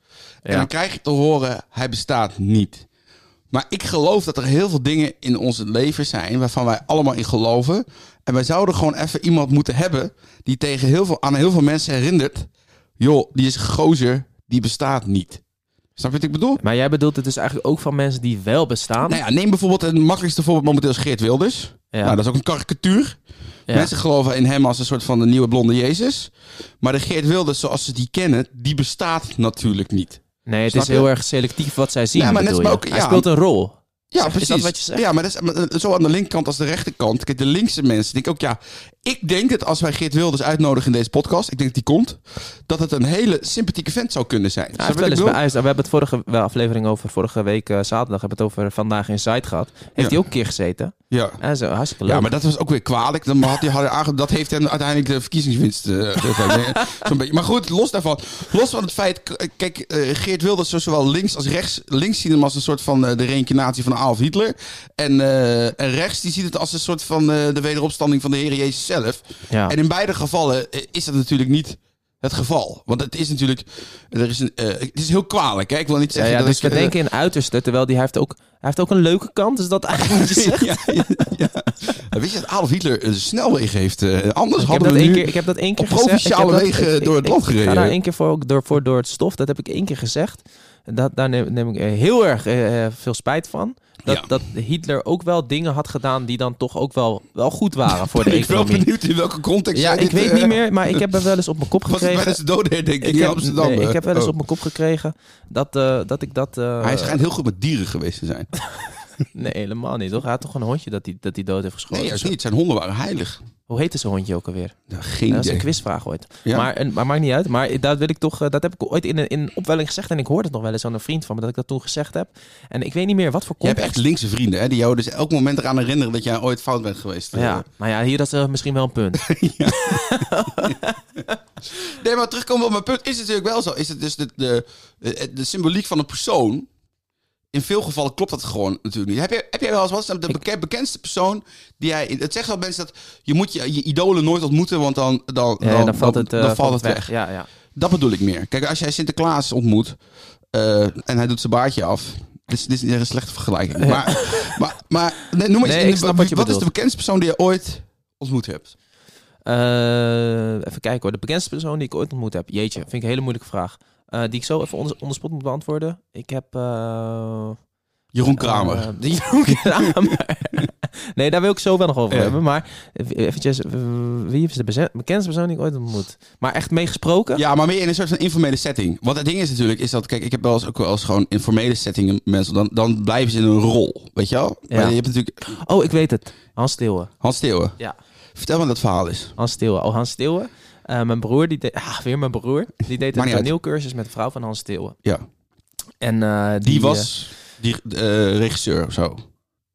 [SPEAKER 2] En dan krijg je te horen, hij bestaat niet. Maar ik geloof dat er heel veel dingen in ons leven zijn waarvan wij allemaal in geloven. En wij zouden gewoon even iemand moeten hebben die tegen heel veel, aan heel veel mensen herinnert. Joh, die is een gozer, die bestaat niet. Snap je wat ik bedoel?
[SPEAKER 1] Maar jij bedoelt het dus eigenlijk ook van mensen die wel bestaan.
[SPEAKER 2] Nou ja, neem bijvoorbeeld het makkelijkste voorbeeld momenteel is Geert Wilders.
[SPEAKER 1] Ja.
[SPEAKER 2] Nou, dat is ook een karikatuur.
[SPEAKER 1] Ja.
[SPEAKER 2] Mensen geloven in hem als een soort van de nieuwe blonde Jezus. Maar de Geert Wilders zoals ze die kennen, die bestaat natuurlijk niet.
[SPEAKER 1] Nee, het
[SPEAKER 2] Snap
[SPEAKER 1] is
[SPEAKER 2] je?
[SPEAKER 1] heel erg selectief wat zij zien.
[SPEAKER 2] Ja, maar net
[SPEAKER 1] bedoel
[SPEAKER 2] als
[SPEAKER 1] je.
[SPEAKER 2] ook-
[SPEAKER 1] Hij
[SPEAKER 2] ja.
[SPEAKER 1] speelt een rol.
[SPEAKER 2] Ja,
[SPEAKER 1] Zeg- is
[SPEAKER 2] precies.
[SPEAKER 1] dat wat je zegt?
[SPEAKER 2] Ja, maar dat is, maar zo aan de linkerkant als de rechterkant. Kijk, de linkse mensen denk ik ook, ja... Ik denk dat als wij Geert Wilders uitnodigen in deze podcast... ik denk dat die komt... dat het een hele sympathieke vent zou kunnen zijn.
[SPEAKER 1] Ja,
[SPEAKER 2] Snap je
[SPEAKER 1] vertel
[SPEAKER 2] wat ik
[SPEAKER 1] eens,
[SPEAKER 2] bedoel?
[SPEAKER 1] bij IJs- we hebben het vorige wel, aflevering over vorige week eh, zaterdag. Hebben we het over Vandaag in Zuid gehad. Heeft
[SPEAKER 2] Ja.
[SPEAKER 1] hij ook een keer gezeten?
[SPEAKER 2] Ja.
[SPEAKER 1] Ja, zo, hartstikke leuk.
[SPEAKER 2] Ja, maar dat was ook weer kwalijk. Dan had hij, had hij aange- dat heeft hem uiteindelijk de verkiezingswinst. eh, gegeven. Zo'n beetje. Maar goed, los daarvan. Los van het feit. k- Kijk, eh, Geert Wilders zou zowel links als rechts. Links zien hem als een soort van eh, de reïncarnatie van Adolf Hitler. En, eh, en rechts die ziet het als een soort van eh, de wederopstanding van de Heer Jezus zelf.
[SPEAKER 1] Ja.
[SPEAKER 2] En in beide gevallen eh, is dat natuurlijk niet. Het geval. Want het is natuurlijk. Er is een, eh, het is heel kwalijk. Hè? Ik wil
[SPEAKER 1] Ja,
[SPEAKER 2] niet zeggen.
[SPEAKER 1] ja,
[SPEAKER 2] dat
[SPEAKER 1] dus
[SPEAKER 2] ik,
[SPEAKER 1] we
[SPEAKER 2] eh,
[SPEAKER 1] denken in uiterste, terwijl die, hij, heeft ook, hij heeft ook een leuke kant. Is dat eigenlijk wat je zegt?
[SPEAKER 2] ja, ja, ja. Weet je dat Adolf Hitler een snelweg heeft? eh, anders
[SPEAKER 1] Ik heb,
[SPEAKER 2] hadden
[SPEAKER 1] dat
[SPEAKER 2] we
[SPEAKER 1] één
[SPEAKER 2] nu...
[SPEAKER 1] keer, ik heb dat één keer
[SPEAKER 2] op
[SPEAKER 1] gezegd. Ik heb
[SPEAKER 2] provinciale
[SPEAKER 1] dat-
[SPEAKER 2] wegen
[SPEAKER 1] ik- ik-
[SPEAKER 2] door het
[SPEAKER 1] ik-
[SPEAKER 2] land
[SPEAKER 1] Ik
[SPEAKER 2] gereden.
[SPEAKER 1] ga daar één keer voor, ook door, voor door het stof. Dat heb ik één keer gezegd. Dat, daar neem, neem ik eh, heel erg eh, eh, veel spijt van. Dat,
[SPEAKER 2] Ja.
[SPEAKER 1] dat Hitler ook wel dingen had gedaan die dan toch ook wel, wel goed waren voor de
[SPEAKER 2] ik ben wel
[SPEAKER 1] economie.
[SPEAKER 2] benieuwd in welke context
[SPEAKER 1] Ja,
[SPEAKER 2] jij
[SPEAKER 1] ik
[SPEAKER 2] dit,
[SPEAKER 1] weet
[SPEAKER 2] eh,
[SPEAKER 1] niet meer, maar ik heb er wel eens op mijn kop
[SPEAKER 2] Was het
[SPEAKER 1] gekregen.
[SPEAKER 2] bij de doodherdenking
[SPEAKER 1] Ik
[SPEAKER 2] in
[SPEAKER 1] heb,
[SPEAKER 2] Amsterdam?
[SPEAKER 1] nee, ik heb wel eens
[SPEAKER 2] Oh.
[SPEAKER 1] op mijn kop gekregen dat, eh, dat ik dat... eh,
[SPEAKER 2] Hij schijnt heel goed met dieren geweest te zijn.
[SPEAKER 1] Nee, helemaal niet. Toch? Hij had toch een hondje dat hij dat die dood heeft geschoten?
[SPEAKER 2] Nee, juist niet. Zijn honden waren heilig.
[SPEAKER 1] Hoe heette zijn hondje ook alweer?
[SPEAKER 2] Nou, geen
[SPEAKER 1] dat is
[SPEAKER 2] idee.
[SPEAKER 1] een quizvraag ooit.
[SPEAKER 2] Ja.
[SPEAKER 1] Maar, en, maar maakt niet uit. Maar dat, wil ik toch, eh, dat heb ik ooit in een, in een opwelling gezegd. En ik hoorde het nog wel eens aan een vriend van me dat ik dat toen gezegd heb. En ik weet niet meer wat voor
[SPEAKER 2] Je hebt
[SPEAKER 1] context.
[SPEAKER 2] echt linkse vrienden, hè? Die jou dus elk moment eraan herinneren dat jij ooit fout bent geweest.
[SPEAKER 1] Ja, nou ja, hier dat is eh, misschien wel een punt.
[SPEAKER 2] Nee, maar terugkomen op mijn punt is het natuurlijk wel zo. Is het dus de, de, eh, de, de symboliek van een persoon. In veel gevallen klopt dat gewoon natuurlijk niet. Heb jij, heb jij wel eens wat? nou De beke- bekendste persoon die jij. Het zegt wel mensen dat je moet je, je idolen nooit ontmoeten, want dan, dan,
[SPEAKER 1] Ja, dan, valt het, eh,
[SPEAKER 2] dan valt het weg.
[SPEAKER 1] Ja, ja.
[SPEAKER 2] Dat bedoel ik meer. Kijk, als jij Sinterklaas ontmoet eh, en hij doet zijn baardje af. Dit is, dit is een slechte vergelijking. Maar, maar, maar nee, noem maar eens.
[SPEAKER 1] Nee,
[SPEAKER 2] in
[SPEAKER 1] ik
[SPEAKER 2] de-
[SPEAKER 1] snap wat je
[SPEAKER 2] is
[SPEAKER 1] bedoelt.
[SPEAKER 2] de bekendste persoon die je ooit ontmoet hebt?
[SPEAKER 1] Eh, even kijken hoor. De bekendste persoon die ik ooit ontmoet heb. Jeetje, vind ik een hele moeilijke vraag. Eh, die ik zo even onder, onder spot moet beantwoorden. Ik heb... eh,
[SPEAKER 2] Jeroen Kramer.
[SPEAKER 1] Eh, die Jeroen Kramer. nee, daar wil ik zo wel nog over
[SPEAKER 2] Ja.
[SPEAKER 1] hebben. Maar eh, eventjes, eh, wie is de beze- bekendste persoon die ik ooit ontmoet? Maar echt meegesproken?
[SPEAKER 2] Ja, maar meer in een soort van informele setting. Wat het ding is natuurlijk, is dat, kijk, ik heb wel eens ook wel eens gewoon informele settingen mensen, dan, dan blijven ze in hun rol, weet je wel? Maar
[SPEAKER 1] Ja.
[SPEAKER 2] je hebt natuurlijk
[SPEAKER 1] Oh, ik weet het. Hans Steeuwen.
[SPEAKER 2] Hans Steeuwen.
[SPEAKER 1] Ja.
[SPEAKER 2] Vertel me dat verhaal eens.
[SPEAKER 1] Hans Steeuwen. Oh, Hans Steeuwen. Eh, mijn broer, die deed... Ah, weer mijn broer. Die deed
[SPEAKER 2] Maakt
[SPEAKER 1] een
[SPEAKER 2] niet uit.
[SPEAKER 1] toneelcursus met de vrouw van Hans Steeuwen.
[SPEAKER 2] Ja.
[SPEAKER 1] En, eh, die,
[SPEAKER 2] Die,
[SPEAKER 1] eh,
[SPEAKER 2] was die, eh, regisseur of zo.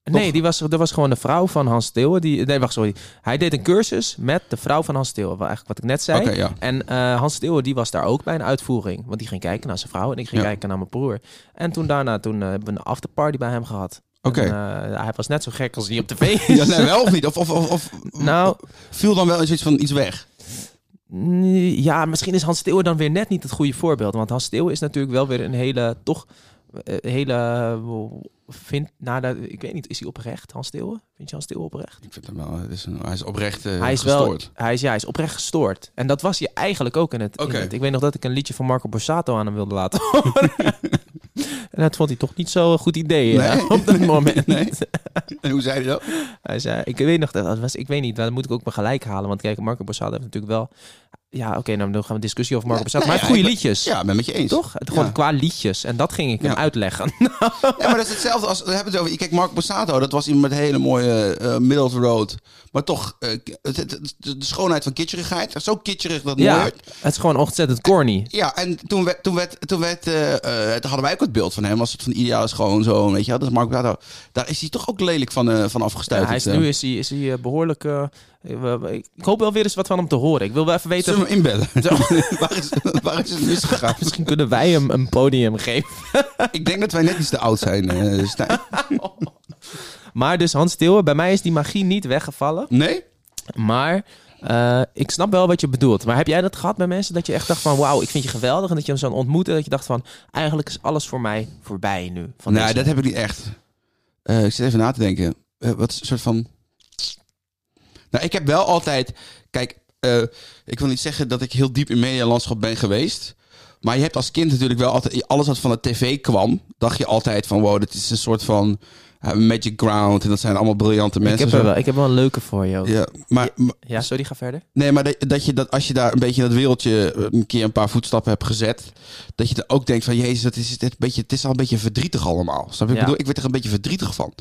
[SPEAKER 1] nee, die was, dat was gewoon de vrouw van Hans Steeuwen. Die, nee, wacht, sorry. Hij deed een cursus met de vrouw van Hans Steeuwen. Wat, eigenlijk wat ik net zei.
[SPEAKER 2] Oké, ja.
[SPEAKER 1] En eh, Hans Steeuwen die was daar ook bij een uitvoering. Want die ging kijken naar zijn vrouw en ik ging
[SPEAKER 2] Ja.
[SPEAKER 1] kijken naar mijn broer. En toen daarna toen, eh, hebben we een afterparty bij hem gehad.
[SPEAKER 2] Oké.
[SPEAKER 1] En, eh, hij was net zo gek als hij op tv is.
[SPEAKER 2] Ja, nee, wel of niet? Of, of, of, of
[SPEAKER 1] Nou,
[SPEAKER 2] viel dan wel eens iets van iets weg?
[SPEAKER 1] mm, ja, misschien is Hans Steeuwen dan weer net niet het goede voorbeeld. Want Hans Steeuwen is natuurlijk wel weer een hele, toch, eh, hele, eh, vind, nou, dat- ik weet niet, is hij oprecht, Hans Steeuwen? Vind je Hans Steeuwen oprecht?
[SPEAKER 2] Ik vind hem wel, het is een, hij is oprecht eh,
[SPEAKER 1] hij is
[SPEAKER 2] gestoord.
[SPEAKER 1] wel, hij is, ja, hij is oprecht gestoord. En dat was hij eigenlijk ook in het, in
[SPEAKER 2] Oké.
[SPEAKER 1] het- Ik weet nog dat ik een liedje van Marco Borsato aan hem wilde laten horen. en dat vond hij toch niet zo'n goed idee eh,
[SPEAKER 2] Nee.
[SPEAKER 1] op dat moment.
[SPEAKER 2] Nee. En hoe zei hij dat?
[SPEAKER 1] Hij zei, ik weet nog dat, dat was, ik weet niet, daar moet ik ook maar gelijk halen. Want kijk, Marco Borsato heeft natuurlijk wel, ja, oké, nou, dan gaan we een discussie over Marco
[SPEAKER 2] Nee,
[SPEAKER 1] Borsato.
[SPEAKER 2] nee,
[SPEAKER 1] maar hij heeft
[SPEAKER 2] ik
[SPEAKER 1] goede liedjes.
[SPEAKER 2] ben- Ja, ik ben met je eens.
[SPEAKER 1] Toch? Het- Gewoon
[SPEAKER 2] Ja.
[SPEAKER 1] qua liedjes. En dat ging ik
[SPEAKER 2] Ja.
[SPEAKER 1] hem uitleggen.
[SPEAKER 2] Ja, maar dat is hetzelfde als... We hebben het over... Kijk, Mark Borsato, dat was iemand met een hele mooie eh middle of the road. Maar toch, eh, het- het- het- de schoonheid van kitscherigheid. Zo kitscherig dat mooi
[SPEAKER 1] ja,
[SPEAKER 2] werd.
[SPEAKER 1] het is gewoon ontzettend corny.
[SPEAKER 2] Ja, en toen werd... Toen, werd, toen, werd, eh, eh, toen hadden wij ook het beeld van hem. Als het van ideaal is gewoon zo, weet je wel. Dat is Mark Borsato. Daar is hij toch ook lelijk van, eh, van afgestuurd.
[SPEAKER 1] Ja, hij is, nu is hij, is hij eh, behoorlijk... eh, eh, ik ik hoop wel weer eens wat van hem te horen. Ik wil wel even weten...
[SPEAKER 2] Zullen we hem inbellen?
[SPEAKER 1] Zo.
[SPEAKER 2] waar, is, waar is het misgegaan?
[SPEAKER 1] Misschien kunnen wij hem een podium geven.
[SPEAKER 2] Ik denk dat wij net iets te oud zijn, eh, Stijn.
[SPEAKER 1] Maar dus Hans Steeuwen, bij mij is die magie niet weggevallen.
[SPEAKER 2] Nee?
[SPEAKER 1] Maar Eh, ik snap wel wat je bedoelt. Maar heb jij dat gehad bij mensen dat je echt dacht van... wauw, ik vind je geweldig. En dat je hem zou ontmoeten. Dat je dacht van, eigenlijk is alles voor mij voorbij nu. Van
[SPEAKER 2] nee,
[SPEAKER 1] deze-
[SPEAKER 2] dat heb ik niet echt. Eh, ik zit even na te denken. Eh, wat is een soort van... Nou, ik heb wel altijd... Kijk, eh, ik wil niet zeggen dat ik heel diep in medialandschap ben geweest. Maar je hebt als kind natuurlijk wel altijd... Alles wat van de tv kwam, dacht je altijd van... Wow, dit is een soort van eh, magic ground. En dat zijn allemaal briljante
[SPEAKER 1] ik,
[SPEAKER 2] mensen.
[SPEAKER 1] heb er
[SPEAKER 2] zo.
[SPEAKER 1] wel, ik heb wel een leuke voor je. ook. Ja.
[SPEAKER 2] Ja, maar, maar-
[SPEAKER 1] sorry, ga verder.
[SPEAKER 2] nee, maar dat, dat je dat als je daar een beetje in dat wereldje eh, een keer een paar voetstappen hebt gezet, dat je dan ook denkt van Jezus, dat is dit een beetje, het is al een beetje verdrietig allemaal. Snap je? Ik
[SPEAKER 1] Ja.
[SPEAKER 2] bedoel, ik werd er een beetje verdrietig van.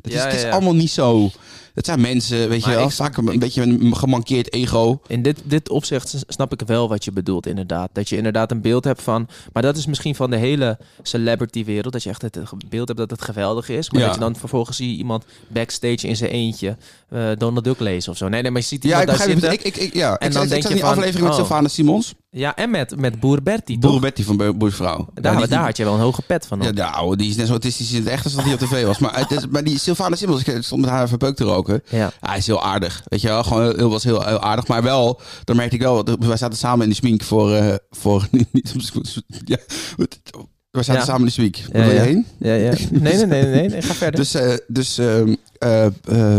[SPEAKER 2] Dat is,
[SPEAKER 1] Ja,
[SPEAKER 2] het is
[SPEAKER 1] ja, ja.
[SPEAKER 2] allemaal niet zo. Het zijn mensen, weet
[SPEAKER 1] Maar
[SPEAKER 2] je wel,
[SPEAKER 1] ik-
[SPEAKER 2] vaak een, een beetje een gemankeerd ego.
[SPEAKER 1] In dit, dit opzicht s- snap ik wel wat je bedoelt, inderdaad. Dat je inderdaad een beeld hebt van. Maar dat is misschien van de hele celebrity-wereld. Dat je echt het ge- beeld hebt dat het geweldig is. Maar
[SPEAKER 2] Ja.
[SPEAKER 1] dat je dan vervolgens zie je iemand backstage in zijn eentje eh, Donald Duck lezen of zo. Nee, nee, maar je ziet
[SPEAKER 2] Ja,
[SPEAKER 1] iemand
[SPEAKER 2] ik
[SPEAKER 1] daar
[SPEAKER 2] begrijp het.
[SPEAKER 1] zitten.
[SPEAKER 2] Ik, ik, ik, ja. ik
[SPEAKER 1] dan
[SPEAKER 2] zat- ik
[SPEAKER 1] denk
[SPEAKER 2] zat
[SPEAKER 1] je
[SPEAKER 2] in die
[SPEAKER 1] van,
[SPEAKER 2] aflevering met
[SPEAKER 1] oh.
[SPEAKER 2] Sylvana Simons,
[SPEAKER 1] Ja, en met, met Boer Bertie. toch?
[SPEAKER 2] broer Betty van Be- Boersvrouw.
[SPEAKER 1] Daar,
[SPEAKER 2] Ja, die-
[SPEAKER 1] daar had je wel een hoge pet van. op.
[SPEAKER 2] Ja, de oude, die is net zo autistisch in het echt als dat hij op tv was. Maar, het is, maar die Sylvana Simons, ik stond met haar even peuk te roken.
[SPEAKER 1] Ja.
[SPEAKER 2] Hij is heel aardig. Weet je wel, gewoon heel, heel- was heel, heel aardig. Maar wel, dan merkte ik wel, wij zaten samen in de smink voor. eh, voor niet, niet- ja, het- we zaten
[SPEAKER 1] Ja.
[SPEAKER 2] samen in de smink. Waar
[SPEAKER 1] Ja,
[SPEAKER 2] wil je
[SPEAKER 1] ja.
[SPEAKER 2] heen?
[SPEAKER 1] Ja, ja. Nee, nee, nee, nee, nee, nee, Ga verder.
[SPEAKER 2] Dus, eh, dus ehm, eh, eh,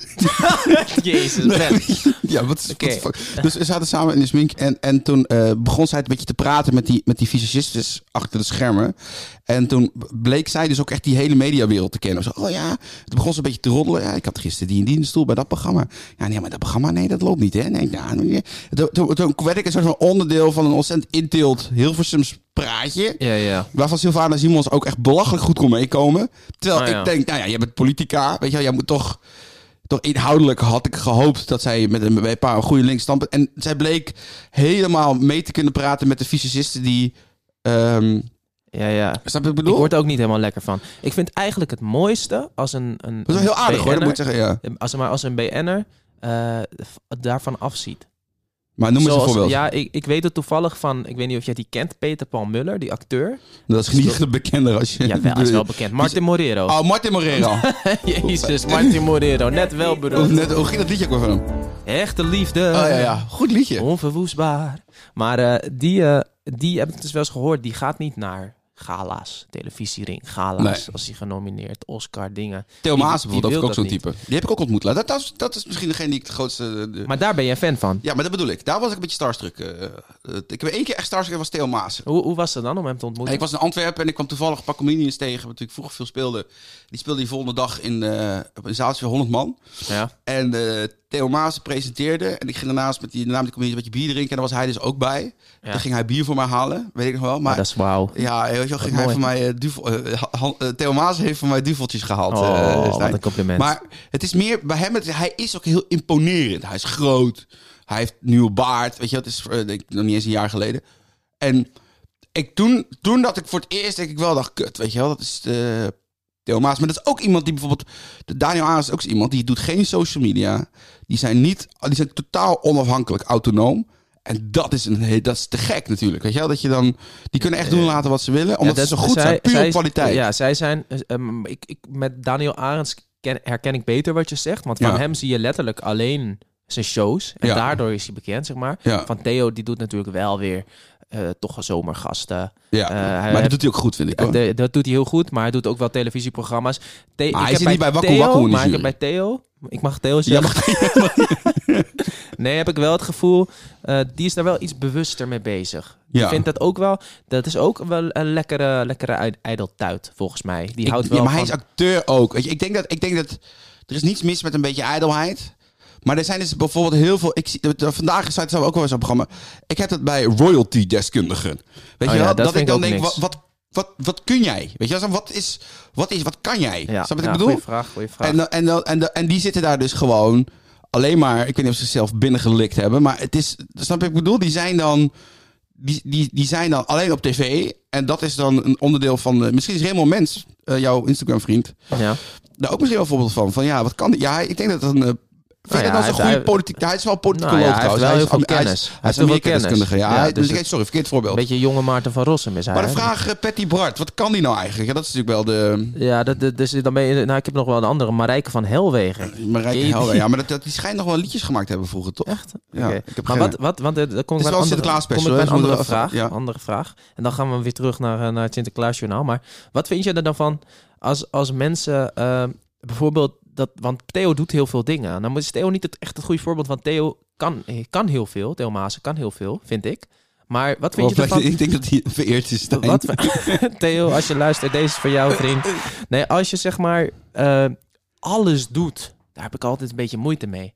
[SPEAKER 2] Dus-
[SPEAKER 1] Jezus, Ben.
[SPEAKER 2] ja, wat is
[SPEAKER 1] Oké.
[SPEAKER 2] what the fuck? Dus we zaten samen in de smink en, en toen eh, begon zij een beetje te praten met die, met die visagistes achter de schermen. En toen bleek zij dus ook echt die hele mediawereld te kennen. Zo, oh ja, het begon ze een beetje te roddelen. Ja, ik had gisteren die en die in de stoel bij dat programma. Ja, nee, maar dat programma, nee, dat loopt niet, hè. Nee, nou, nee. Toen, toen, toen werd ik een soort van onderdeel van een ontzettend intilt Hilversums praatje.
[SPEAKER 1] Ja, ja.
[SPEAKER 2] Waarvan Sylvana Simons ook echt belachelijk goed kon meekomen. Terwijl
[SPEAKER 1] Ah, ja.
[SPEAKER 2] ik denk, nou ja, jij bent politica. Weet je wel, jij moet toch... Toch inhoudelijk had ik gehoopt dat zij met een, met een paar goede links stampen. En zij bleek helemaal mee te kunnen praten met de fysicisten die... ehm
[SPEAKER 1] Ja, ja.
[SPEAKER 2] snap je wat ik
[SPEAKER 1] Ik
[SPEAKER 2] bedoel?
[SPEAKER 1] word er ook niet helemaal lekker van. Ik vind eigenlijk het mooiste als een. een
[SPEAKER 2] dat is wel heel aardig hoor, dat moet ik zeggen. Ja.
[SPEAKER 1] BN'er, Ehm, Als, maar als een BN'er eh, v- daarvan afziet.
[SPEAKER 2] Maar noem eens een
[SPEAKER 1] Zoals-
[SPEAKER 2] voorbeeld.
[SPEAKER 1] Ja, ik, ik weet het toevallig van. Ik weet niet of jij die kent. Peter Paul Muller, die acteur.
[SPEAKER 2] dat is niet echt een bekende als je...
[SPEAKER 1] Ja, wel, is wel bekend. Martin Morero.
[SPEAKER 2] Oh, Martin Morera.
[SPEAKER 1] Jezus, Martin Morero. Net wel
[SPEAKER 2] Of
[SPEAKER 1] beroemd.
[SPEAKER 2] net, hoe ging dat liedje ook weer van hem? Oh
[SPEAKER 1] Echte liefde.
[SPEAKER 2] ja, ja. Goed
[SPEAKER 1] Oh,
[SPEAKER 2] liedje.
[SPEAKER 1] Onverwoestbaar. Maar eh, die, eh, die heb ik dus wel eens gehoord. Die gaat niet naar gala's, televisiering, gala's.
[SPEAKER 2] Nee.
[SPEAKER 1] Als hij genomineerd, Oscar, dingen.
[SPEAKER 2] Theo
[SPEAKER 1] Die-
[SPEAKER 2] Maas
[SPEAKER 1] die
[SPEAKER 2] bijvoorbeeld, dat
[SPEAKER 1] wil
[SPEAKER 2] ook zo'n
[SPEAKER 1] dat
[SPEAKER 2] type. Die heb ik ook ontmoet. Nou, Dat, dat, is- dat is misschien degene die ik het grootste... eh,
[SPEAKER 1] Maar daar ben jij fan van.
[SPEAKER 2] Ja, maar dat bedoel ik. Daar was ik een beetje starstruck. eh, eh, ik heb één keer echt starstruck, dat was Theo Maas.
[SPEAKER 1] Hoe, hoe was het dan om hem te ontmoeten?
[SPEAKER 2] Ik was in Antwerpen en ik kwam toevallig een paar comedians tegen, wat natuurlijk vroeger veel speelde. Die speelde die volgende dag in eh, op een zaaltje van 100 man.
[SPEAKER 1] Ja.
[SPEAKER 2] En eh, Theo Maas presenteerde en ik ging daarnaast met die, naam die comedians een beetje bier drinken en daar was hij dus ook bij.
[SPEAKER 1] Ja.
[SPEAKER 2] Dan ging hij bier voor mij halen, weet ik nog wel. Maar
[SPEAKER 1] Ah, Dat is wauw.
[SPEAKER 2] ja, weet je wel, ging hij
[SPEAKER 1] mooi.
[SPEAKER 2] van mij eh, duvel, eh, Han- eh, Theo Maas heeft van mij duveltjes gehaald. eh,
[SPEAKER 1] Oh, wat
[SPEAKER 2] Stijn.
[SPEAKER 1] een compliment.
[SPEAKER 2] Maar het is meer bij hem, het- hij is ook heel imponerend. Hij is groot. Hij heeft een nieuwe baard. Weet je, dat is eh, denk ik, nog niet eens een jaar geleden. En ik, toen, toen dat ik voor het eerst, denk ik wel, dacht kut. Weet je wel, dat is eh Theo Maas. Maar dat is ook iemand die bijvoorbeeld. de Daniel Aas is ook zo iemand die doet geen social media. Die zijn, niet, die zijn totaal onafhankelijk, autonoom. En dat is, een, he- dat is te gek natuurlijk. Weet je wel, dat je dan. Die kunnen echt doen en laten wat ze willen. Omdat
[SPEAKER 1] Eh, Ja,
[SPEAKER 2] ze
[SPEAKER 1] dat-
[SPEAKER 2] zo goed zijn. Puur op kwaliteit.
[SPEAKER 1] Ja, zij zijn. eh, ehm, ik, ik, met Daniel Arends ken- herken ik beter wat je zegt. Want
[SPEAKER 2] Ja.
[SPEAKER 1] van hem zie je letterlijk alleen zijn shows. En
[SPEAKER 2] Ja.
[SPEAKER 1] daardoor is hij bekend, zeg maar.
[SPEAKER 2] Ja.
[SPEAKER 1] Van Theo, die doet natuurlijk wel weer eh, toch zomergasten.
[SPEAKER 2] Ja.
[SPEAKER 1] eh, hij-
[SPEAKER 2] maar dat doet hij ook goed, vind ik.
[SPEAKER 1] Eh,
[SPEAKER 2] Hoor.
[SPEAKER 1] de- dat doet hij heel goed, maar hij doet ook wel televisieprogramma's. The- ik
[SPEAKER 2] hij
[SPEAKER 1] heb
[SPEAKER 2] zit niet bij Wakku
[SPEAKER 1] Theo,
[SPEAKER 2] Wakku in de
[SPEAKER 1] Maar ik heb
[SPEAKER 2] jury.
[SPEAKER 1] bij Theo... Ik mag Theo
[SPEAKER 2] Ja,
[SPEAKER 1] zeggen. Nee, heb ik wel het gevoel... eh, die is daar wel iets bewuster mee bezig.
[SPEAKER 2] Ja.
[SPEAKER 1] Ik vind dat ook wel... Dat is ook wel een lekkere, lekkere ij- ijdeltuit, volgens mij. Die houdt
[SPEAKER 2] Ik-
[SPEAKER 1] wel
[SPEAKER 2] ja, maar
[SPEAKER 1] van...
[SPEAKER 2] hij is acteur ook. Weet je, ik, denk dat, ik denk dat er is niets mis met een beetje ijdelheid. Maar er zijn dus bijvoorbeeld heel veel. Ik zie, de- de- vandaag is het ook wel eens een programma. Ik heb dat bij royalty-deskundigen. Weet
[SPEAKER 1] Oh
[SPEAKER 2] je
[SPEAKER 1] ja,
[SPEAKER 2] wel?
[SPEAKER 1] dat vind
[SPEAKER 2] Dat ik
[SPEAKER 1] ik
[SPEAKER 2] dan
[SPEAKER 1] ook
[SPEAKER 2] denk: wat,
[SPEAKER 1] niks.
[SPEAKER 2] wat, wat, wat kun jij? Weet je wel? Wat is, wat is, wat kan jij?
[SPEAKER 1] ja,
[SPEAKER 2] Snap je
[SPEAKER 1] ja,
[SPEAKER 2] wat ik bedoel?
[SPEAKER 1] Goeie vraag, goeie vraag.
[SPEAKER 2] En, dan- en, dan- en, dan- en die zitten daar dus gewoon alleen maar. Ik weet niet of ze zichzelf binnengelikt hebben. Maar het is. Snap je wat ik bedoel? Die zijn dan. Die, die, die zijn dan alleen op tv. En dat is dan een onderdeel van. eh, misschien is Raymond Mens, eh, jouw Instagram-vriend,
[SPEAKER 1] ja.
[SPEAKER 2] daar ook misschien wel een voorbeeld van. Van ja, wat kan. Ja, ik denk dat het een. eh, Vind je
[SPEAKER 1] Nou ja,
[SPEAKER 2] dat nou
[SPEAKER 1] hij
[SPEAKER 2] zo'n
[SPEAKER 1] heeft-
[SPEAKER 2] goede
[SPEAKER 1] hij-
[SPEAKER 2] politiek... Hij is wel politicoloog
[SPEAKER 1] Nou ja, hij heeft
[SPEAKER 2] trouwens.
[SPEAKER 1] wel heel
[SPEAKER 2] is,
[SPEAKER 1] veel
[SPEAKER 2] hij is-
[SPEAKER 1] kennis.
[SPEAKER 2] Hij
[SPEAKER 1] Hij
[SPEAKER 2] is,
[SPEAKER 1] heeft heel veel
[SPEAKER 2] Amerika-deskundige,
[SPEAKER 1] kennis.
[SPEAKER 2] ja.
[SPEAKER 1] Ja,
[SPEAKER 2] hij,
[SPEAKER 1] dus
[SPEAKER 2] dus ik
[SPEAKER 1] het-
[SPEAKER 2] sorry, verkeerd voorbeeld.
[SPEAKER 1] Een beetje jonge Maarten van Rossum is hij.
[SPEAKER 2] maar de
[SPEAKER 1] hè?
[SPEAKER 2] vraag, eh, Patty Bart, wat kan die nou eigenlijk? Ja, dat is natuurlijk wel de...
[SPEAKER 1] Ja, dat, dat- dus dan ben je, nou, ik heb nog wel een andere. Marijke van Helwegen. Ken je
[SPEAKER 2] Marijke
[SPEAKER 1] die?
[SPEAKER 2] Helder. Ja, maar dat, dat, die schijnt nog wel liedjes gemaakt te hebben vroeger, toch?
[SPEAKER 1] Echt?
[SPEAKER 2] Ja,
[SPEAKER 1] Oké.
[SPEAKER 2] ik heb
[SPEAKER 1] maar
[SPEAKER 2] geen-
[SPEAKER 1] wat, wat, want eh, dan kom
[SPEAKER 2] Het
[SPEAKER 1] ik bij
[SPEAKER 2] is
[SPEAKER 1] een
[SPEAKER 2] wel een
[SPEAKER 1] andere,
[SPEAKER 2] Sinterklaas
[SPEAKER 1] kom ik
[SPEAKER 2] special,
[SPEAKER 1] bij
[SPEAKER 2] hè,
[SPEAKER 1] een
[SPEAKER 2] dus we moeten
[SPEAKER 1] andere
[SPEAKER 2] wel
[SPEAKER 1] vraag,
[SPEAKER 2] even- ja.
[SPEAKER 1] andere vraag. En dan gaan we weer terug naar, eh, naar het Sinterklaasjournaal. Maar wat vind je er dan van als, als mensen eh, bijvoorbeeld... Dat, want Theo doet heel veel dingen. Nou is Theo niet het, echt het goede voorbeeld, want Theo kan, eh, kan heel veel. Theo Maassen kan heel veel, vind ik. Maar wat vind je
[SPEAKER 2] Of-
[SPEAKER 1] ervan...
[SPEAKER 2] Ik denk dat hij vereerd is, Stijn.
[SPEAKER 1] Wat, Theo, als je luistert, deze is voor jou, vriend. Nee, als je zeg maar eh, alles doet, daar heb ik altijd een beetje moeite mee.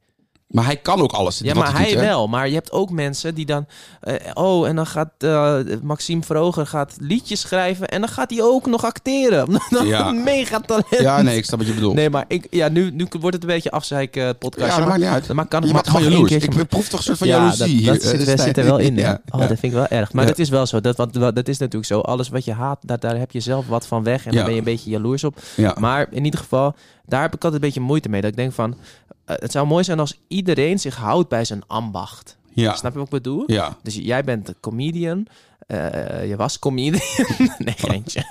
[SPEAKER 2] Maar hij kan ook alles.
[SPEAKER 1] Ja,
[SPEAKER 2] wat
[SPEAKER 1] maar
[SPEAKER 2] doet,
[SPEAKER 1] hij
[SPEAKER 2] hè?
[SPEAKER 1] wel. Maar je hebt ook mensen die dan... eh, oh, en dan gaat eh, Maxime Vroger gaat liedjes schrijven... en dan gaat hij ook nog acteren.
[SPEAKER 2] Ja.
[SPEAKER 1] Een mega talent.
[SPEAKER 2] Ja, nee, ik snap wat je bedoelt.
[SPEAKER 1] Nee, maar ik, ja, nu, nu wordt het een beetje afzeik eh,
[SPEAKER 2] ja,
[SPEAKER 1] podcast.
[SPEAKER 2] dat maakt niet uit.
[SPEAKER 1] maar kan
[SPEAKER 2] Je
[SPEAKER 1] mag
[SPEAKER 2] bent gewoon
[SPEAKER 1] één
[SPEAKER 2] jaloers.
[SPEAKER 1] keertje-
[SPEAKER 2] Ik proef toch een soort van
[SPEAKER 1] ja,
[SPEAKER 2] jaloezie
[SPEAKER 1] dat,
[SPEAKER 2] hier.
[SPEAKER 1] dat
[SPEAKER 2] eh,
[SPEAKER 1] zit, dat
[SPEAKER 2] Stijn.
[SPEAKER 1] zit er wel in. Ja.
[SPEAKER 2] Ja,
[SPEAKER 1] Oh,
[SPEAKER 2] ja.
[SPEAKER 1] dat vind ik wel erg. Maar
[SPEAKER 2] Ja.
[SPEAKER 1] dat is wel zo. Dat, wat, wat- dat is natuurlijk zo. Alles wat je haat, daar, daar heb je zelf wat van weg. En
[SPEAKER 2] Ja.
[SPEAKER 1] daar ben je een beetje jaloers op.
[SPEAKER 2] Ja.
[SPEAKER 1] Maar in ieder geval, daar heb ik altijd een beetje moeite mee. Dat ik denk van, eh, het zou mooi zijn als iedereen zich houdt bij zijn ambacht.
[SPEAKER 2] Ja.
[SPEAKER 1] Snap je wat ik bedoel?
[SPEAKER 2] Ja.
[SPEAKER 1] Dus jij bent een comedian. eh, je was comedian. nee, geintje.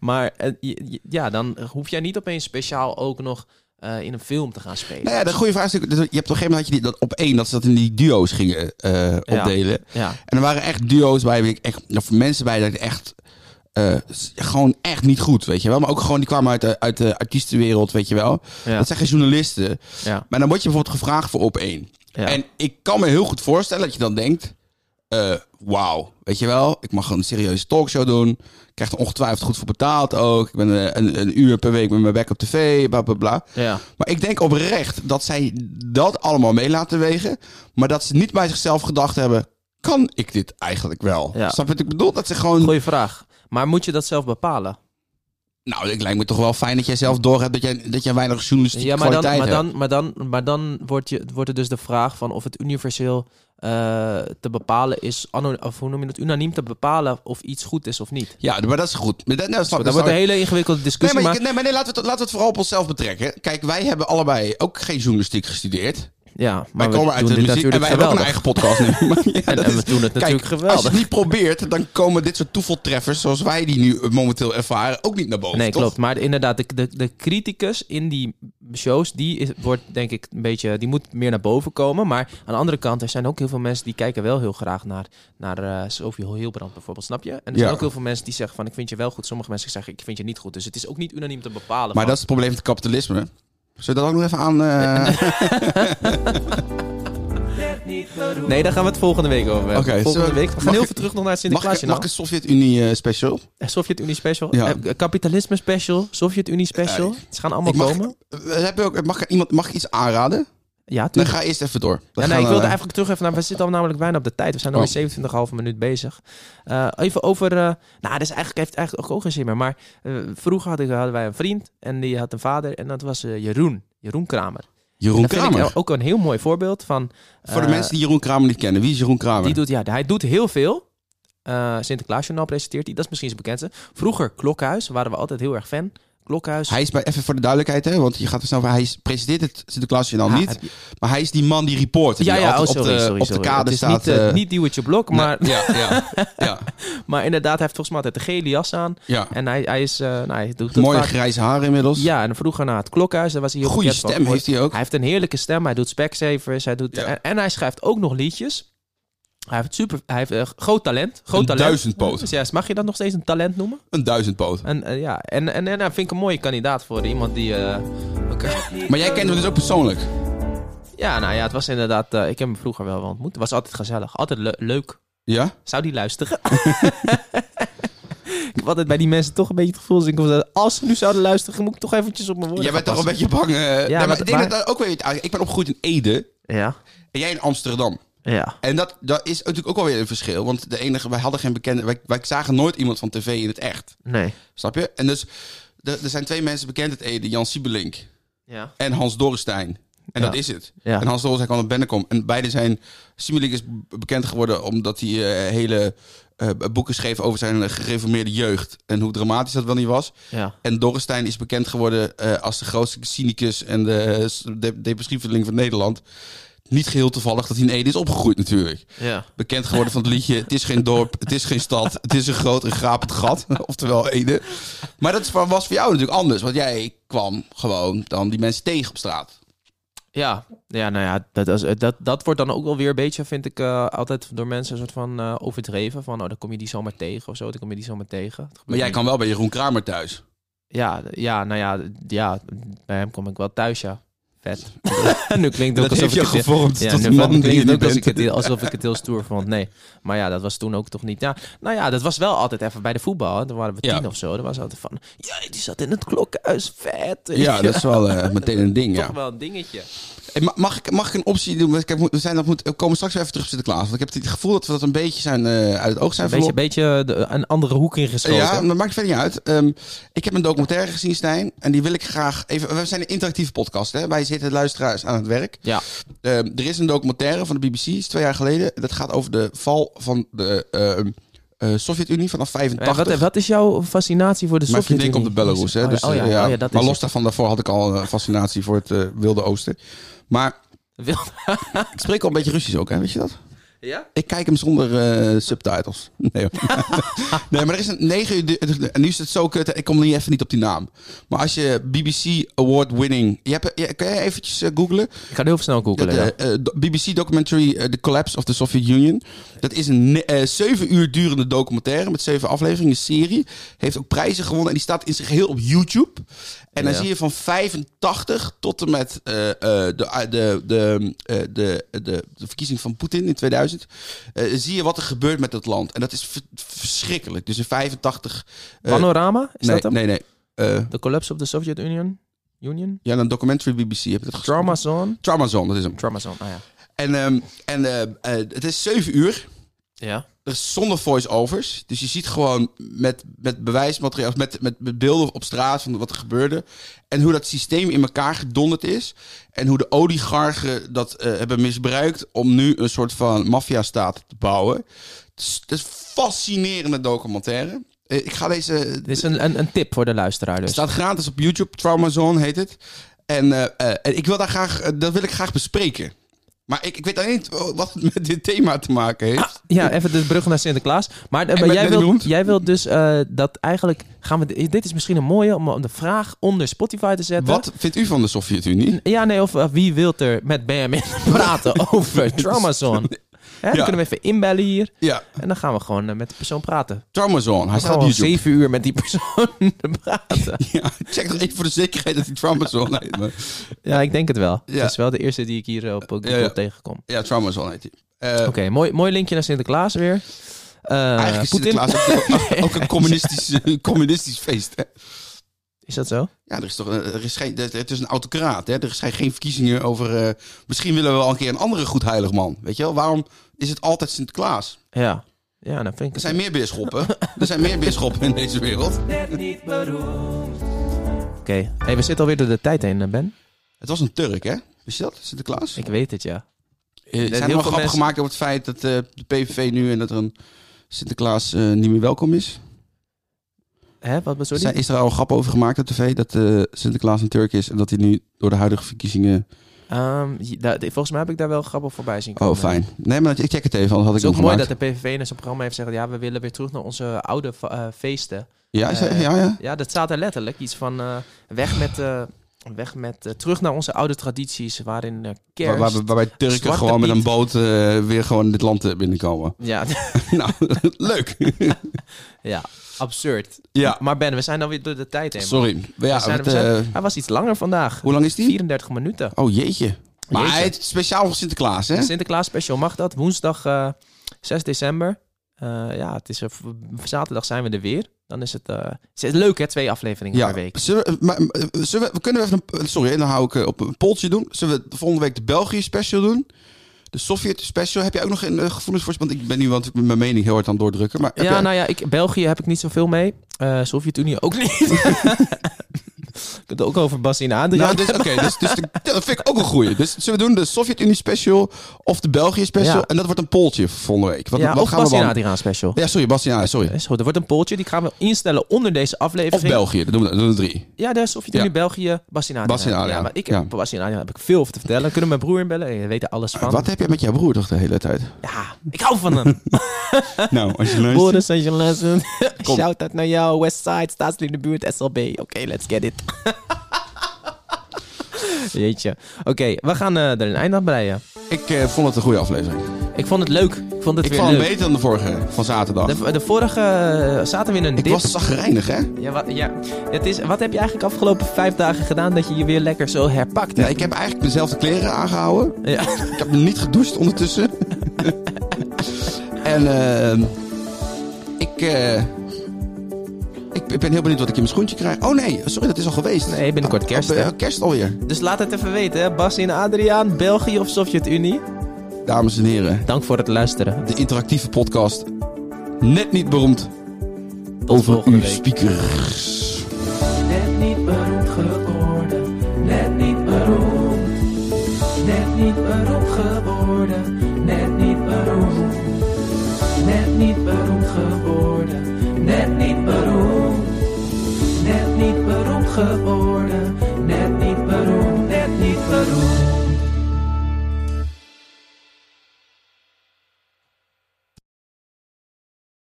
[SPEAKER 1] maar eh, je- je- ja, dan hoef jij niet opeens speciaal ook nog eh, in een film te gaan spelen.
[SPEAKER 2] Nou ja, de goede vraag is natuurlijk... dat- Je hebt op een gegeven moment had je die, dat op één... dat ze dat in die duo's gingen eh, opdelen.
[SPEAKER 1] Ja.
[SPEAKER 2] En er waren echt duo's bij... weet Ik echt, of mensen bij dat ik echt... eh, s- gewoon echt niet goed, weet je wel. Maar ook gewoon, die kwamen uit de, uit de artiestenwereld, weet je wel.
[SPEAKER 1] Ja.
[SPEAKER 2] Dat zijn geen journalisten.
[SPEAKER 1] Ja.
[SPEAKER 2] Maar dan word je bijvoorbeeld gevraagd voor op één.
[SPEAKER 1] Ja.
[SPEAKER 2] En ik kan me heel goed voorstellen dat je dan denkt... eh, Wauw, weet je wel, ik mag een serieuze talkshow doen. Ik krijg er ongetwijfeld goed voor betaald ook. Ik ben eh, een, een uur per week met mijn bek op tv, bla bla bla.
[SPEAKER 1] Ja.
[SPEAKER 2] Maar ik denk oprecht dat zij dat allemaal mee laten wegen. Maar dat ze niet bij zichzelf gedacht hebben... kan ik dit eigenlijk wel?
[SPEAKER 1] Ja.
[SPEAKER 2] Snap je wat ik bedoel? Dat ze gewoon...
[SPEAKER 1] Goeie vraag. Maar moet je dat zelf bepalen?
[SPEAKER 2] Nou, ik lijkt me toch wel fijn dat jij zelf doorhebt... dat jij, dat jij weinig journalistieke
[SPEAKER 1] Ja, maar dan,
[SPEAKER 2] Dus kwaliteit
[SPEAKER 1] maar
[SPEAKER 2] hebt.
[SPEAKER 1] dan, maar dan, maar dan wordt, je, wordt er dus de vraag van of het universeel eh, te bepalen is, ano- of hoe noem je dat, unaniem te bepalen of iets goed is of niet.
[SPEAKER 2] Ja, maar dat is goed. Maar dat, nou, snap,
[SPEAKER 1] Dat wordt een hele ingewikkelde
[SPEAKER 2] Nee,
[SPEAKER 1] discussie.
[SPEAKER 2] maar,
[SPEAKER 1] Dus maar
[SPEAKER 2] je- nee, maar nee, laten, we het, laten we het vooral op onszelf betrekken. Kijk, wij hebben allebei ook geen journalistiek gestudeerd.
[SPEAKER 1] ja,
[SPEAKER 2] Wij
[SPEAKER 1] maar we
[SPEAKER 2] komen uit
[SPEAKER 1] doen
[SPEAKER 2] de
[SPEAKER 1] dit
[SPEAKER 2] muziek en
[SPEAKER 1] natuurlijk
[SPEAKER 2] wij hebben ook een
[SPEAKER 1] geweldig.
[SPEAKER 2] eigen podcast nu. Maar ja,
[SPEAKER 1] En,
[SPEAKER 2] dat
[SPEAKER 1] en we
[SPEAKER 2] is-
[SPEAKER 1] doen het
[SPEAKER 2] Kijk,
[SPEAKER 1] natuurlijk
[SPEAKER 2] Als je
[SPEAKER 1] geweldig.
[SPEAKER 2] het niet probeert, dan komen dit soort toevaltreffers... zoals wij die nu eh, momenteel ervaren, ook niet naar boven,
[SPEAKER 1] Nee,
[SPEAKER 2] toch?
[SPEAKER 1] klopt. Maar inderdaad, de, de, de criticus in die shows, die is, wordt denk ik een beetje, die moet meer naar boven komen. Maar aan de andere kant, er zijn ook heel veel mensen die kijken wel heel graag naar, naar eh, Sophie Hilbrand bijvoorbeeld, snap je? En er
[SPEAKER 2] Ja.
[SPEAKER 1] zijn ook heel veel mensen die zeggen van, ik vind je wel goed. Sommige mensen zeggen, ik vind je niet goed. Dus het is ook niet unaniem te bepalen.
[SPEAKER 2] Maar
[SPEAKER 1] van-
[SPEAKER 2] dat is het probleem van het kapitalisme. Zullen we dat ook nog even aan... eh,
[SPEAKER 1] Nee, daar gaan we het volgende week over hebben.
[SPEAKER 2] Oké, zullen
[SPEAKER 1] volgende
[SPEAKER 2] we-
[SPEAKER 1] week. We gaan
[SPEAKER 2] mag
[SPEAKER 1] heel
[SPEAKER 2] ik-
[SPEAKER 1] veel terug nog naar het
[SPEAKER 2] mag, ik,
[SPEAKER 1] Sinterklaasjournaal.
[SPEAKER 2] mag ik een Sovjet-Unie eh, special?
[SPEAKER 1] Eh, Sovjet-Unie special,
[SPEAKER 2] Ja.
[SPEAKER 1] eh, kapitalisme special, Sovjet-Unie special.
[SPEAKER 2] Ja,
[SPEAKER 1] Ze gaan allemaal
[SPEAKER 2] Ik mag,
[SPEAKER 1] komen.
[SPEAKER 2] we hebben ook, mag, ik iemand, mag ik iets aanraden?
[SPEAKER 1] Ja,
[SPEAKER 2] Dan
[SPEAKER 1] tuurlijk.
[SPEAKER 2] ga eerst even door. Dan
[SPEAKER 1] Ja, nee,
[SPEAKER 2] gaan
[SPEAKER 1] ik
[SPEAKER 2] we-
[SPEAKER 1] wilde eigenlijk terug even naar... We zitten al namelijk bijna op de tijd. We zijn alweer
[SPEAKER 2] Oh.
[SPEAKER 1] 27,5 minuut bezig. Eh, even over... eh, nou, dit is eigenlijk, heeft eigenlijk ook, ook geen zin meer. Maar eh, vroeger had ik, hadden wij een vriend. En die had een vader. En dat was eh, Jeroen. Jeroen Kramer. En
[SPEAKER 2] Jeroen
[SPEAKER 1] dat vind ik
[SPEAKER 2] Kramer.
[SPEAKER 1] nou ook een heel mooi voorbeeld van...
[SPEAKER 2] Voor de
[SPEAKER 1] eh,
[SPEAKER 2] mensen die Jeroen Kramer niet kennen. Wie is Jeroen Kramer?
[SPEAKER 1] Die doet, ja, hij doet heel veel. Eh Sinterklaasjournaal presenteert hij. Dat is misschien zijn bekendste. Vroeger Klokhuis, waren we altijd heel erg fan. Klokhuis.
[SPEAKER 2] Hij is bij, even voor de duidelijkheid, hè, want je gaat er snel van. Hij is, presenteert het Sinterklaasjournaal
[SPEAKER 1] Ja,
[SPEAKER 2] niet.
[SPEAKER 1] heb je-
[SPEAKER 2] Maar hij is die man die report.
[SPEAKER 1] ja,
[SPEAKER 2] die
[SPEAKER 1] ja, oh,
[SPEAKER 2] altijd
[SPEAKER 1] sorry,
[SPEAKER 2] op de,
[SPEAKER 1] sorry,
[SPEAKER 2] op de
[SPEAKER 1] sorry.
[SPEAKER 2] kade
[SPEAKER 1] Het is
[SPEAKER 2] staat.
[SPEAKER 1] niet, eh,
[SPEAKER 2] eh,
[SPEAKER 1] niet Duwertje Blok,
[SPEAKER 2] nee,
[SPEAKER 1] maar,
[SPEAKER 2] Ja, ja, ja,
[SPEAKER 1] maar inderdaad, hij heeft volgens mij altijd de gele jas aan.
[SPEAKER 2] ja.
[SPEAKER 1] En hij, hij is, eh, nou, hij doet dat
[SPEAKER 2] Mooie
[SPEAKER 1] vaak.
[SPEAKER 2] grijze haren inmiddels.
[SPEAKER 1] Ja, en vroeger na het klokhuis, daar was hij heel
[SPEAKER 2] Goede
[SPEAKER 1] bekend van
[SPEAKER 2] stem heeft
[SPEAKER 1] geworden.
[SPEAKER 2] hij ook.
[SPEAKER 1] Hij heeft een heerlijke stem, hij doet Specsavers, hij doet,
[SPEAKER 2] Ja.
[SPEAKER 1] en, en hij schrijft ook nog liedjes. Hij heeft, super, hij heeft eh, groot talent. Groot
[SPEAKER 2] Een
[SPEAKER 1] talent.
[SPEAKER 2] duizendpoot.
[SPEAKER 1] Dus ja, mag je dat nog steeds een talent noemen?
[SPEAKER 2] Een duizendpoot.
[SPEAKER 1] En, eh, ja, en, en, en hij vind ik een mooie kandidaat voor iemand die... eh, oké.
[SPEAKER 2] Maar jij kent hem dus ook persoonlijk.
[SPEAKER 1] Ja, nou ja, het was inderdaad... eh, ik heb hem vroeger wel ontmoet. Het was altijd gezellig. Altijd le- leuk.
[SPEAKER 2] Ja?
[SPEAKER 1] Zou die luisteren? ik heb altijd bij die mensen toch een beetje het gevoel... dat ik was, eh, als ze nu zouden luisteren, moet ik toch eventjes op mijn woorden
[SPEAKER 2] Jij bent
[SPEAKER 1] gaan
[SPEAKER 2] toch een beetje bang. eh, nee, maar
[SPEAKER 1] maar-
[SPEAKER 2] ik, denk
[SPEAKER 1] maar-
[SPEAKER 2] dat dat ook weer, ah, ik ben opgegroeid in Ede
[SPEAKER 1] passen. Ja,
[SPEAKER 2] en jij in Amsterdam.
[SPEAKER 1] ja.
[SPEAKER 2] En dat, dat is natuurlijk ook wel weer een verschil. Want de enige, wij hadden geen bekende. Wij, wij zagen nooit iemand van tv in het echt.
[SPEAKER 1] Nee.
[SPEAKER 2] Snap je? En dus, er er zijn twee mensen bekend uit Ede: Jan Siebelink
[SPEAKER 1] Ja.
[SPEAKER 2] en Hans Dorrestein. En
[SPEAKER 1] Ja.
[SPEAKER 2] dat is het.
[SPEAKER 1] Ja.
[SPEAKER 2] En Hans Dolzak kwam op Bennekom. En beide zijn... Simulik is b- bekend geworden omdat hij eh, hele eh, boeken schreef over zijn eh, gereformeerde jeugd. En hoe dramatisch dat wel niet was.
[SPEAKER 1] Ja.
[SPEAKER 2] En Dorrestein is bekend geworden eh, als de grootste cynicus en de, eh, s- de depressieveling van Nederland. Niet geheel toevallig dat hij in Ede is opgegroeid natuurlijk.
[SPEAKER 1] Ja.
[SPEAKER 2] Bekend geworden van het liedje Het is geen dorp, het is geen stad, het is een groot en grapend gat. Oftewel Ede. Maar dat is voor- was voor jou natuurlijk anders. Want jij kwam gewoon dan die mensen tegen op straat.
[SPEAKER 1] Ja, ja nou ja, dat, is- dat, dat wordt dan ook wel weer een beetje, vind ik, eh, altijd door mensen een soort van eh, overdreven. Van, oh, dan kom je die zomaar tegen of zo, dan kom je die zomaar tegen. Het gebeurt
[SPEAKER 2] Maar jij
[SPEAKER 1] niet.
[SPEAKER 2] kan wel bij Jeroen Kramer thuis.
[SPEAKER 1] Ja, ja, nou ja, ja, bij hem kom ik wel thuis, ja. Vet. nu klinkt het ook
[SPEAKER 2] dat
[SPEAKER 1] alsof
[SPEAKER 2] heeft
[SPEAKER 1] ik
[SPEAKER 2] jou
[SPEAKER 1] het...
[SPEAKER 2] gevormd
[SPEAKER 1] Ja,
[SPEAKER 2] tot
[SPEAKER 1] nu
[SPEAKER 2] de man die je
[SPEAKER 1] klinkt
[SPEAKER 2] nu
[SPEAKER 1] het ook als ik
[SPEAKER 2] bent.
[SPEAKER 1] het heel- alsof ik het heel stoer vond. Nee, maar ja, dat was toen ook toch niet. Ja, nou ja, dat was wel altijd even bij de voetbal. hè. Dan waren we
[SPEAKER 2] Ja.
[SPEAKER 1] tien of zo. Dan was altijd van, ja, die zat in het klokkenhuis, vet.
[SPEAKER 2] Ja, dat is wel eh, meteen een ding,
[SPEAKER 1] toch
[SPEAKER 2] ja.
[SPEAKER 1] wel een dingetje.
[SPEAKER 2] Hey, ma- mag, ik, mag ik een optie doen? Want Kijk, we, zijn, dat moet, we komen straks weer even terug op Sinterklaas. Want ik heb het gevoel dat we dat een beetje zijn, eh, uit het oog zijn
[SPEAKER 1] Een beetje,
[SPEAKER 2] verloren.
[SPEAKER 1] beetje de- een andere hoek ingeschoten.
[SPEAKER 2] Ja, maar dat maakt verder niet uit. Ehm, ik heb een documentaire gezien, Stijn. En die wil ik graag even... We zijn een interactieve podcast, hè. Wij zitten luisteraars aan het werk.
[SPEAKER 1] Ja. Eh,
[SPEAKER 2] Ehm, er is een documentaire van de BBC, is twee jaar geleden. Dat gaat over de val van de ehm, eh, Sovjet-Unie vanaf
[SPEAKER 1] Eh,
[SPEAKER 2] 85.
[SPEAKER 1] wat, wat is jouw fascinatie voor de
[SPEAKER 2] Mijn
[SPEAKER 1] Sovjet-Unie?
[SPEAKER 2] vriendin komt uit Belarus, hè?
[SPEAKER 1] Oh ja,
[SPEAKER 2] Dus,
[SPEAKER 1] oh ja,
[SPEAKER 2] eh, ja.
[SPEAKER 1] oh ja, dat
[SPEAKER 2] maar
[SPEAKER 1] is
[SPEAKER 2] los daarvan, daarvoor had ik al een fascinatie voor het eh, Wilde Oosten. Maar
[SPEAKER 1] het. Wil-
[SPEAKER 2] ik spreek al een beetje Russisch ook, hè? Weet je dat?
[SPEAKER 1] Ja?
[SPEAKER 2] Ik kijk hem zonder eh, subtitles. Nee, hoor. nee, maar er is een 9 uur. du- En nu is het zo kut. hè, Ik kom niet even niet op die naam. Maar als je BBC Award winning. Je hebt, je, kan je eventjes eh, googlen?
[SPEAKER 1] Ik ga nu heel snel googlen.
[SPEAKER 2] Dat,
[SPEAKER 1] ja.
[SPEAKER 2] eh, eh, do- BBC documentary eh, The Collapse of the Soviet Union. Dat is een ne- eh, zeven uur durende documentaire met zeven afleveringen, een serie. Heeft ook prijzen gewonnen en die staat in zijn geheel op YouTube. En dan
[SPEAKER 1] Ja.
[SPEAKER 2] zie je van 85 tot en met eh, eh, de, ah, de, de, eh, de, de, de verkiezing van Poetin in 2000. eh, zie je wat er gebeurt met dat land. En dat is ver- verschrikkelijk. Dus in 85... eh,
[SPEAKER 1] Panorama, is
[SPEAKER 2] nee,
[SPEAKER 1] dat hem?
[SPEAKER 2] nee, nee. Eh,
[SPEAKER 1] The Collapse of the Soviet Union? Union?
[SPEAKER 2] ja, een documentary BBC. Heb je dat gezien?
[SPEAKER 1] Trauma Zone?
[SPEAKER 2] Trauma Zone, dat is hem.
[SPEAKER 1] Trauma Zone, ah ja.
[SPEAKER 2] En, ehm, en ehm, eh, het is 7 uur.
[SPEAKER 1] Ja.
[SPEAKER 2] Er is zonder voice-overs. Dus je ziet gewoon met, met bewijsmateriaal, met, met, met beelden op straat van wat er gebeurde. En hoe dat systeem in elkaar gedonderd is. En hoe de oligarchen dat eh, hebben misbruikt om nu een soort van maffiastaat te bouwen. Het is, het is een fascinerende documentaire. Eh, ik ga deze...
[SPEAKER 1] Dit is een, een, een tip voor de luisteraar dus.
[SPEAKER 2] Het staat gratis op YouTube. Trauma Zone heet het. En eh, eh, en ik wil daar graag, eh, dat wil ik graag bespreken. Maar ik, ik weet alleen niet wat het met dit thema te maken heeft.
[SPEAKER 1] Ah, Ja, even de brug naar Sinterklaas. Maar, eh, maar
[SPEAKER 2] ben
[SPEAKER 1] jij,
[SPEAKER 2] net
[SPEAKER 1] wilt,
[SPEAKER 2] beroemd.
[SPEAKER 1] jij wilt dus eh, dat eigenlijk... Gaan we, dit is misschien een mooie om de vraag onder Spotify te zetten.
[SPEAKER 2] Wat vindt u van de Sovjet-Unie?
[SPEAKER 1] Ja, nee, of eh, wie wilt er met Benjamin praten over Trauma Zone? Hè, Dan
[SPEAKER 2] Ja.
[SPEAKER 1] kunnen we even inbellen hier.
[SPEAKER 2] Ja,
[SPEAKER 1] En dan gaan we gewoon eh, met de persoon praten.
[SPEAKER 2] Traumazone. Hij
[SPEAKER 1] We gaan
[SPEAKER 2] staat op
[SPEAKER 1] gewoon
[SPEAKER 2] YouTube.
[SPEAKER 1] zeven uur met die persoon praten.
[SPEAKER 2] Ja, check nog even voor de zekerheid dat hij Traumazone heet. maar-
[SPEAKER 1] Ja, ik denk het wel.
[SPEAKER 2] Ja.
[SPEAKER 1] Dat is wel de eerste die ik hier eh, op Google
[SPEAKER 2] Ja, ja.
[SPEAKER 1] tegenkom.
[SPEAKER 2] Ja, Traumazone heet hij. Eh,
[SPEAKER 1] Oké, mooi, mooi linkje naar Sinterklaas weer. Eh,
[SPEAKER 2] Eigenlijk is
[SPEAKER 1] Poetin-
[SPEAKER 2] Sinterklaas ook, ook een communistisch, een communistisch feest. Hè?
[SPEAKER 1] Is dat zo?
[SPEAKER 2] Ja, er is toch, eh, er is geen, er- het is een autocraat. Hè? Er zijn geen verkiezingen over... eh, misschien willen we wel een keer een andere goed heilig man. Weet je wel? Waarom is het altijd Sinterklaas?
[SPEAKER 1] Ja. Ja, dan vind ik
[SPEAKER 2] Er
[SPEAKER 1] het...
[SPEAKER 2] zijn meer bisschoppen. Er zijn meer bisschoppen in deze wereld.
[SPEAKER 1] Oké. Hey, we zitten alweer door de tijd heen, eh, Ben.
[SPEAKER 2] Het was een Turk, hè? Wist je dat? Sinterklaas?
[SPEAKER 1] Ik weet het, ja.
[SPEAKER 2] Eh, Er
[SPEAKER 1] heel
[SPEAKER 2] zijn
[SPEAKER 1] veel
[SPEAKER 2] helemaal grappen
[SPEAKER 1] mensen-
[SPEAKER 2] gemaakt over het feit dat eh, de PVV nu en dat er een Sinterklaas eh, niet meer welkom is.
[SPEAKER 1] Hè, wat bedoel
[SPEAKER 2] Zijn-
[SPEAKER 1] je?
[SPEAKER 2] is er al een grap over gemaakt op tv dat eh, Sinterklaas een Turk is en dat hij nu door de huidige verkiezingen...
[SPEAKER 1] Ehm, je- daar- volgens mij heb ik daar wel grappig voorbij zien komen.
[SPEAKER 2] Oh, fijn. Nee, maar ik check het even, anders had
[SPEAKER 1] Het is
[SPEAKER 2] ik hem
[SPEAKER 1] ook mooi
[SPEAKER 2] gemaakt.
[SPEAKER 1] dat de PVV in zijn programma heeft gezegd... ja, we willen weer terug naar onze oude fa- eh, feesten.
[SPEAKER 2] Ja, is dat-
[SPEAKER 1] eh,
[SPEAKER 2] ja, ja.
[SPEAKER 1] Ja, dat staat er letterlijk. Iets van eh, weg met... eh, weg met eh, terug naar onze oude tradities... waarin eh,
[SPEAKER 2] Waar,
[SPEAKER 1] kerst...
[SPEAKER 2] waar- waarbij Turken
[SPEAKER 1] Zwarte
[SPEAKER 2] gewoon met
[SPEAKER 1] Piet.
[SPEAKER 2] een boot eh, weer gewoon dit land eh, binnenkomen.
[SPEAKER 1] Ja,
[SPEAKER 2] nou, leuk.
[SPEAKER 1] ja, absurd.
[SPEAKER 2] ja,
[SPEAKER 1] Maar Ben, we zijn alweer door de tijd heen. man.
[SPEAKER 2] sorry. Maar ja,
[SPEAKER 1] We zijn-
[SPEAKER 2] wat,
[SPEAKER 1] we zijn-
[SPEAKER 2] eh,
[SPEAKER 1] Hij was iets langer vandaag.
[SPEAKER 2] hoe lang is die?
[SPEAKER 1] 34 minuten.
[SPEAKER 2] Oh, jeetje. Maar
[SPEAKER 1] Jeetje.
[SPEAKER 2] hij is speciaal voor Sinterklaas, hè?
[SPEAKER 1] De Sinterklaas special mag dat. Woensdag eh, 6 december. Eh, ja, het is, er- zaterdag zijn we er weer. Dan is het, eh, het is leuk hè, twee afleveringen per week.
[SPEAKER 2] Zullen we, maar, eh, zullen we, kunnen we even een, sorry, en dan hou ik eh, op een poltje doen. Zullen we volgende week de België special doen? De Sovjet special. Heb je ook nog een eh, gevoelens voor? Want ik ben nu want ik ben mijn mening heel hard aan het doordrukken. Maar heb
[SPEAKER 1] Ja,
[SPEAKER 2] jij-
[SPEAKER 1] nou ja, ik, België heb ik niet zoveel mee. Eh Sovjet-Unie ook niet. kunt het ook over Bas en Adriaan.
[SPEAKER 2] Nou, dus, oké, dus, dus de- dat vind ik ook een goeie. Dus zullen we doen de Sovjet-Unie special of de België special?
[SPEAKER 1] Ja.
[SPEAKER 2] En dat wordt een polletje voor volgende week. Wat,
[SPEAKER 1] ja,
[SPEAKER 2] wat
[SPEAKER 1] of Eh,
[SPEAKER 2] gaan we
[SPEAKER 1] Bas en
[SPEAKER 2] dan?
[SPEAKER 1] Adriaan special.
[SPEAKER 2] Ja, sorry, Bastiaan, ja, sorry.
[SPEAKER 1] Is goed, er wordt een polletje, die gaan we instellen onder deze
[SPEAKER 2] Of
[SPEAKER 1] aflevering.
[SPEAKER 2] België, dat doen we, dat doen we drie.
[SPEAKER 1] Ja, daar is of je het
[SPEAKER 2] Ja.
[SPEAKER 1] nu België, Bas en Adriaan.
[SPEAKER 2] Bas en Adriaan,
[SPEAKER 1] Ja, maar ik
[SPEAKER 2] ja.
[SPEAKER 1] heb, Bas en Adriaan heb ik veel over te vertellen. Kunnen we mijn broer inbellen? Je weet er alles van.
[SPEAKER 2] Wat heb jij met jouw broer toch de hele tijd?
[SPEAKER 1] Ja, ik hou van hem.
[SPEAKER 2] nou, als je luistert...
[SPEAKER 1] Boris en Jolessen.
[SPEAKER 2] Kom.
[SPEAKER 1] Shout-out naar jou. Westside, Staatslid in de buurt, SLB. Oké, let's get it. Jeetje. Oké, we gaan eh, er een eind aan breien.
[SPEAKER 2] Ik eh, vond het een goede aflevering.
[SPEAKER 1] Ik vond het leuk. Ik vond het
[SPEAKER 2] Ik
[SPEAKER 1] weer
[SPEAKER 2] vond hem
[SPEAKER 1] leuk.
[SPEAKER 2] beter dan de vorige, van zaterdag.
[SPEAKER 1] De, de vorige eh, zaten we in een
[SPEAKER 2] Ik
[SPEAKER 1] dip.
[SPEAKER 2] was zagrijnig, hè?
[SPEAKER 1] Ja, wat, ja. Het is, wat heb je eigenlijk afgelopen vijf dagen gedaan dat je je weer lekker zo herpakt
[SPEAKER 2] Ja,
[SPEAKER 1] hebt?
[SPEAKER 2] ik heb eigenlijk dezelfde kleren aangehouden.
[SPEAKER 1] Ja.
[SPEAKER 2] Ik heb niet gedoucht ondertussen. en ehm, ik, eh, ik, ik ben heel benieuwd wat ik in mijn schoentje krijg. Oh nee, sorry, dat is al geweest.
[SPEAKER 1] Nee, binnenkort kerst,
[SPEAKER 2] Ah, ah,
[SPEAKER 1] hè?
[SPEAKER 2] kerst alweer.
[SPEAKER 1] Dus laat het even weten, hè. Bas en Adriaan, België of Sovjet-Unie.
[SPEAKER 2] Dames en heren,
[SPEAKER 1] Dank voor het luisteren.
[SPEAKER 2] de interactieve podcast. Net niet beroemd
[SPEAKER 1] Tot
[SPEAKER 2] over
[SPEAKER 1] volgende
[SPEAKER 2] uw
[SPEAKER 1] week.
[SPEAKER 2] speakers.
[SPEAKER 3] Net niet beroemd geworden, net niet beroemd. Net niet beroemd geworden, net niet beroemd. Net niet beroemd geworden, net niet beroemd. Net niet beroemd geworden, net niet beroemd, net niet beroemd.